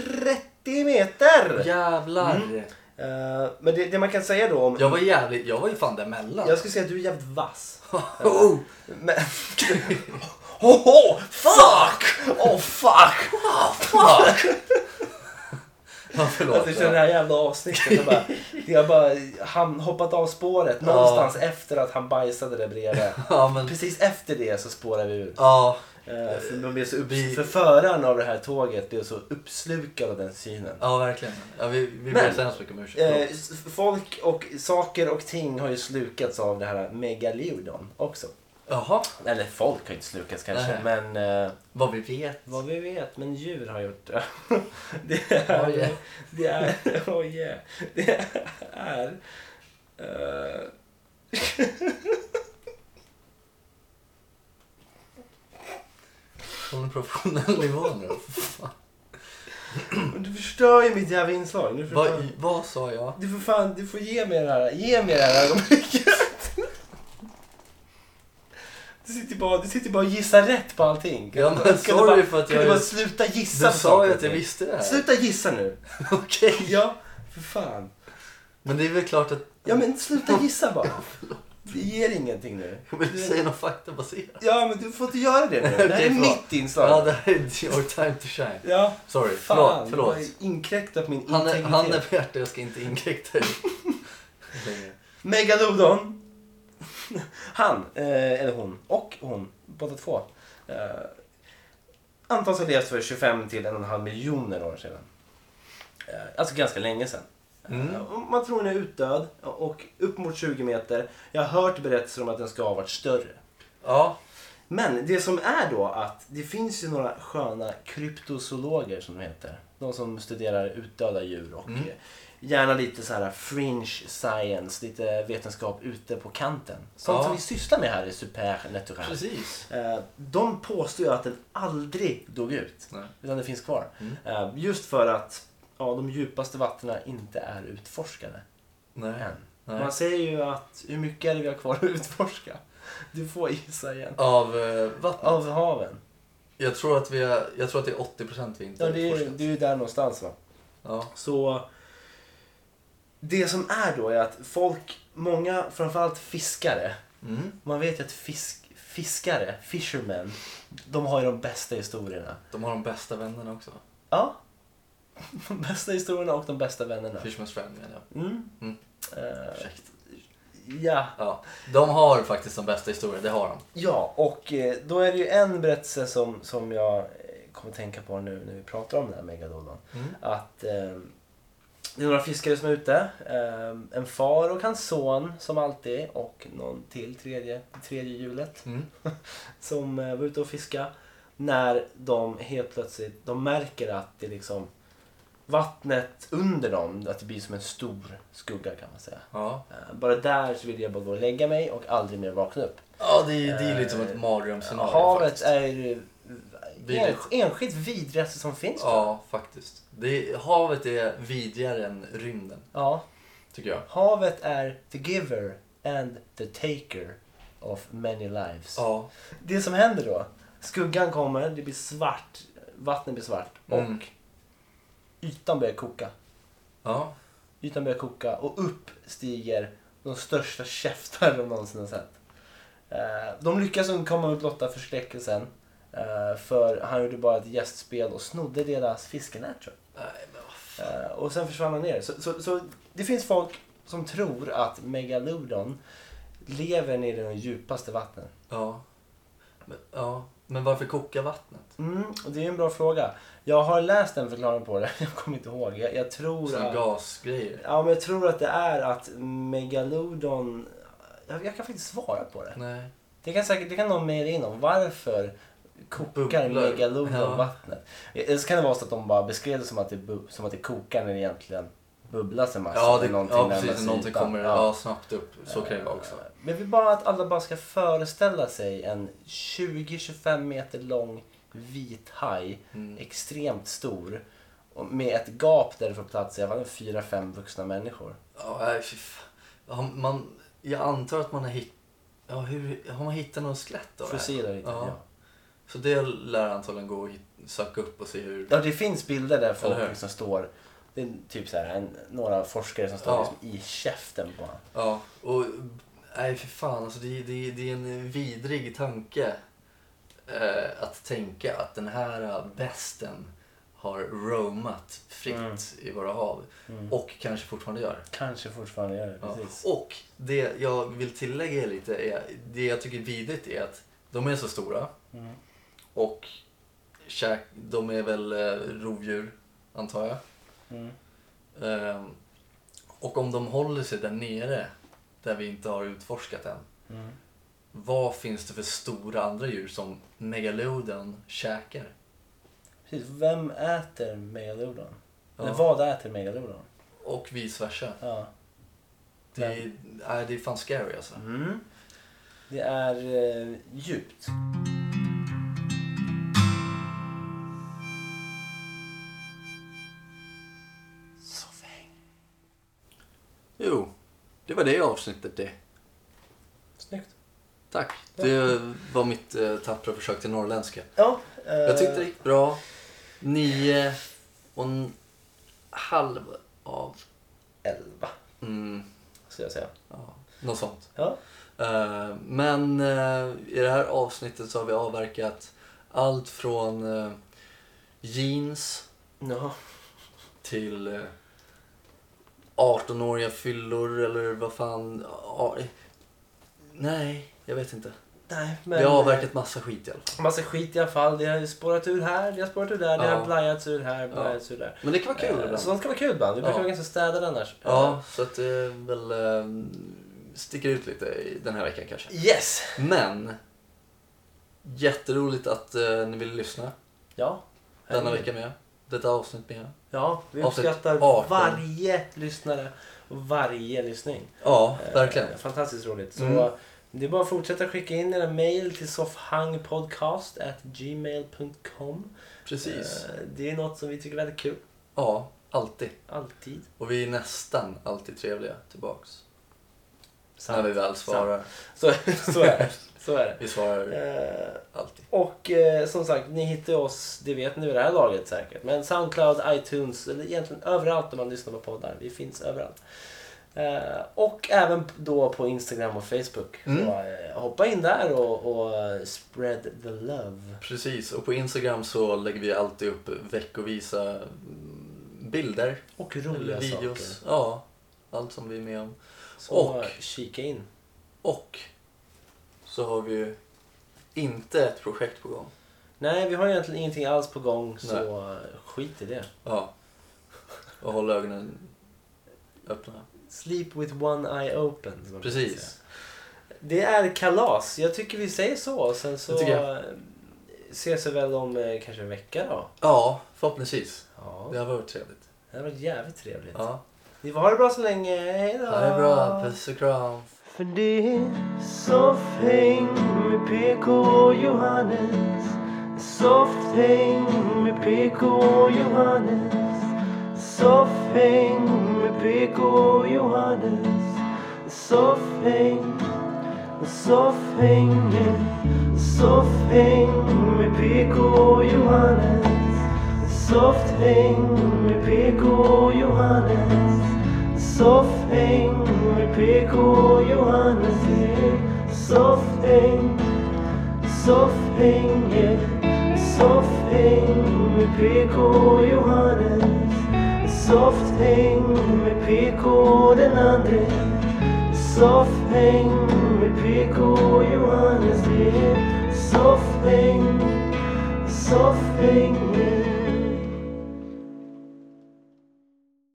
A: där.
B: 30
C: Mm.
B: meter!
A: Jävlar!
B: Eh, men det, det man kan säga då om...
A: Jag var jävligt, jag var ju fan däremellan.
B: Jag skulle säga att du är jävligt vass.
A: oh,
B: Men... oh, oh, fuck! Oh fuck!
A: fuck! ja, förlåt.
C: Alltså, det är det här jävla avsnittet. Jag bara, det har bara han hoppat av spåret någonstans efter att han bajsade där bredvid.
A: Ja, men...
C: Precis efter det så spårar vi ur.
A: Ja,
C: Eh, För, man blev så upp,
A: Vi-
C: för föraren av det här tåget blev så uppslukad av den synen.
A: ja verkligen. Ja, vi vi
B: Men,
A: ber så hemskt mycket om ursäkt.
C: Eh,
A: Förlåt.
C: s- folk och saker och ting har ju slukats av det här megaleodon också.
A: Jaha,
C: Eller folk har inte slukats kanske,
A: Nej.
C: men eh,
A: vad vi vet.
C: vad vi vet, men djur har gjort det. det är...
A: Oh, yeah.
C: Det är... Oh yeah. Det är... eh,
A: På en professionell nivå nu. Fan.
C: du förstör ju mitt jävla inslag. Du,
A: Vad,
C: förstör,
A: vad sa jag?
C: du, får fan, du får ge mig det här. Ge mig det här ögonblicket. Du sitter, bara, du sitter bara och gissar rätt på allting.
A: Ja, men
C: Kan du
A: sorry
C: bara,
A: för att
C: kan
A: jag
C: du bara
A: är-
C: sluta gissa
A: Du
C: på
A: sa ju
C: saker
A: att jag
C: och ting?
A: visste det här.
C: Sluta gissa nu.
A: Okej.
C: Ja, för fan.
A: Men det är väl klart att...
C: Ja men sluta gissa bara. Det ger ingenting nu.
A: Vill du säga något faktabaserat?
C: Ja men du får inte göra det nu. Det här
A: Okej,
C: är
A: förlåt.
C: mitt inslag.
A: Ja, det här är your time to shine.
C: Ja,
A: Sorry,
C: fan.
A: förlåt. förlåt.
C: Du har inkräktat min
A: Han är,
C: integritet.
A: han är värt det, jag ska inte inkräkta dig. längre.
C: Megalodon. Han, eh, eller hon, och hon, båda två. Eh, antas ha levt för 25 till 1,5 miljoner år sedan. Eh, alltså ganska länge sedan.
A: Mm.
C: Eh, och Man tror den är utdöd och upp mot 20 meter. Jag har hört berättelser om att den ska ha varit större.
A: Ja,
C: Men det som är då att det finns ju några sköna kryptozoologer som de heter. De som studerar utdöda djur och
A: Mm.
C: eh, gärna lite så här fringe science, lite vetenskap ute på kanten. Sånt
A: Ja.
C: som vi sysslar med här i Supernatural.
A: precis.
C: Eh, De påstår ju att den aldrig dog ut,
A: Nej. Mm.
C: utan den finns kvar. Eh, Just för att ja, de djupaste vattnen inte är utforskade
A: Nej.
C: än.
A: Nej.
C: Man säger ju att hur mycket är det vi har kvar att utforska? Du får gissa igen.
A: Av eh, vatten.
C: Av haven.
A: Jag, tror att vi är, jag tror att det är 80% vi inte
C: Ja, det är, ju-
A: utforskat.
C: det är ju där någonstans va.
A: Ja.
C: Så det som är då är att folk, många, framförallt fiskare.
A: Mm.
C: Man vet ju att fisk, fiskare, fishermen, de har ju de bästa historierna.
A: De har de bästa vännerna också.
C: Ja. De bästa historierna och de bästa vännerna.
A: Fishman's friend menar jag.
C: Mm.
A: Mm.
C: Eh,
A: Ursäkta.
C: ja.
A: Ja. De har faktiskt de bästa historier, det har de.
C: ja, och eh, då är det ju en berättelse som, som jag eh, kommer tänka på nu när vi pratar om den här megalodon.
A: Mm.
C: att eh, det är några fiskare som är ute. Eh, en far och hans son som alltid och någon till, tredje, tredje hjulet,
A: Mm.
C: som eh, var ute och fiska. När de helt plötsligt de märker att det liksom vattnet under dem, att det blir som en stor skugga kan man säga.
A: Ja.
C: Eh, bara där så vill jag bara gå och lägga mig och aldrig mer vakna upp.
A: ja, det är, det är
C: Eh,
A: lite som ett mardrömsscenario
C: Havet
A: faktiskt.
C: är ju det
A: Vidrigt.
C: ens- enskilt vidrigaste som finns. tror jag.
A: Ja, faktiskt. Det är, havet är vidrigare än rymden,
C: ja,
A: tycker jag.
C: Havet är the giver and the taker of many lives.
A: Ja.
C: Det som händer då, skuggan kommer, det blir svart, vattnet blir svart
A: Mm.
C: och ytan börjar koka.
A: Ja.
C: Ytan börjar koka och upp stiger de största käftar de någonsin har sett. Eh, De lyckas undkomma med blotta förskräckelsen eh, för han gjorde bara ett gästspel och snodde deras fiskenät tror jag.
A: Nej, men vad fan.
C: Eh, Och sen försvann han ner. Så, så, så det finns folk som tror att Megalodon lever nere i de djupaste vattnen.
A: Ja. Men, ja. men varför koka vattnet?
C: Mm, och det är en bra fråga. Jag har läst en förklaring på det, jag kommer inte ihåg. Jag, jag, tror,
A: Såna
C: att,
A: gasgrejer?
C: ja, men jag tror att det är att Megalodon... Jag, jag kan faktiskt svara på det.
A: Nej.
C: Det kan, säkert, det kan någon mejla in om. Varför kokar
A: Bubblar.
C: Megalodon
A: Ja.
C: vattnet? Eller så kan det vara så att de bara beskrev det som att det, bu- som att det kokar när det egentligen bubblas en massa.
A: Ja,
C: eller
A: det,
C: någonting
A: ja
C: närmar
A: precis.
C: sig
A: Någonting
C: ytan.
A: kommer ja, Eh, snabbt upp. Så kan det vara också.
C: Men vi bara att alla bara ska föreställa sig en 20-25 meter lång vit haj.
A: Mm.
C: Extremt stor. Och med ett gap där det får plats i alla fall fyra, fem vuxna människor.
A: Ja, nej, fy fan. Ja, man, jag antar att man har hittat... Ja, hur, har man hittat någon skelett av det här?
C: Fossiler hittar
A: ja.
C: ja.
A: Så det lär antagligen gå att hit- söka upp och se hur...
C: ja, det finns bilder där
A: Eller
C: folk
A: hur?
C: liksom står. Det är typ så här, en, några forskare som står
A: Ja.
C: liksom i käften på honom.
A: Ja, och... Nej, för fan. Alltså, det, det, det är en vidrig tanke eh, att tänka att den här eh, besten har roamat fritt
C: Mm.
A: i våra hav. Och kanske fortfarande gör.
C: Kanske fortfarande gör det,
A: Ja.
C: precis.
A: Och det jag vill tillägga lite är, det jag tycker är vidrigt är att de är så stora
E: Mm.
A: och käk, de är väl eh, rovdjur, antar jag.
E: Mm.
A: Ehm, och om de håller sig där nere, där vi inte har utforskat än,
E: Mm.
A: vad finns det för stora andra djur som megaloden käkar?
C: precis. Vem äter megalodon?
A: Ja.
C: Eller vad äter megalodon?
A: Och vice versa.
C: Ja.
A: Det är, nej, det är fan scary alltså.
C: Mm. Det är eh, djupt.
A: Jo, det var det avsnittet det.
C: Snyggt.
A: Tack. Det var mitt eh, tappra försök till norrländska.
C: Ja, eh,
A: Jag tyckte det gick bra. Nio och en halv av...
C: 11
A: Mm,
C: skulle jag säga.
A: ja, något sånt.
C: Ja.
A: Eh, men eh, i det här avsnittet så har vi avverkat allt från eh, jeans
C: Ja.
A: till eh, 18-åriga fyllor eller vad fan... ja, eh, nej, jag vet inte.
C: Nej, men...
A: vi har avverkat massa skit i alla fall.
C: Massa skit i alla fall. Det har spårat ur här, det har spårat ur där, det
A: Ja.
C: har blajats ur här, blajats ur där.
A: Men det kan vara kul
C: Eh,
A: ibland.
C: Sånt kan vara kul ibland. Vi brukar
A: Ja.
C: vara ganska städade annars.
A: Ja, så att det väl eh, sticker ut lite i den här veckan kanske.
C: Eh, Yes!
A: Men jätteroligt att eh, ni ville lyssna
C: Ja.
A: denna vecka med. Detta avsnitt med.
C: Ja, vi
A: Avsnitt
C: uppskattar
A: 18.
C: varje lyssnare och varje lyssning.
A: Ja,
C: Eh,
A: verkligen.
C: Fantastiskt roligt. Så
A: Mm.
C: det är bara att fortsätta skicka in era mail till soffhangpodcast.gmail.com
A: Precis.
C: Eh, Det är något som vi tycker är väldigt kul.
A: Ja, alltid.
C: Alltid.
A: Och vi är nästan alltid trevliga tillbaks. När
C: Sant.
A: vi väl svarar.
C: Så, så är det. Så är
A: Vi svarar
C: det. Eh,
A: alltid.
C: Och eh, som sagt, ni hittar oss, det vet ni vid det här laget säkert, men Soundcloud, iTunes, eller egentligen överallt om man lyssnar på poddar. Vi finns överallt. Eh, och även då på Instagram och Facebook.
A: Mm.
C: Så, eh, hoppa in där och, och eh, spread the love.
A: Precis. Och på Instagram så lägger vi alltid upp veckovisa mm, bilder.
C: Och
A: Eller
C: roliga
A: videos.
C: saker.
A: Ja, allt som vi är med om.
C: Så
A: Och-
C: och kika in.
A: Och så har vi ju inte ett projekt på gång.
C: Nej, vi har egentligen ingenting alls på gång så eh, skit i det.
A: Ja. Och håll ögonen öppna.
C: Sleep with one eye open. som man brukar säga.
A: Precis.
C: Det är kalas. Jag tycker vi säger så. Och Sen så
A: Det tycker jag.
C: eh, ses vi väl om eh, kanske en vecka då.
A: Ja, förhoppningsvis.
C: Ja.
A: Det har varit trevligt.
C: Det har varit jävligt trevligt.
A: Ja.
C: Ni får ha det bra så länge. Hej då!
A: Ha det bra. Puss och kram.
C: För det är soffhäng med PK och Johannes. Soffhäng med PK och Johannes. Soffhäng med PK och Johannes. Soffhäng, soffhäng, soffhäng med PK och Johannes. Soffhäng med PK och Johannes. Soffhäng med PK och Johannes. yeah. Soffhäng, soffhäng, yeah. soffhäng med PK och Johannes. Soffhäng med PK och den andre. Soffhäng med PK och Johannes. yeah. Soffhäng, soffhäng, yeah.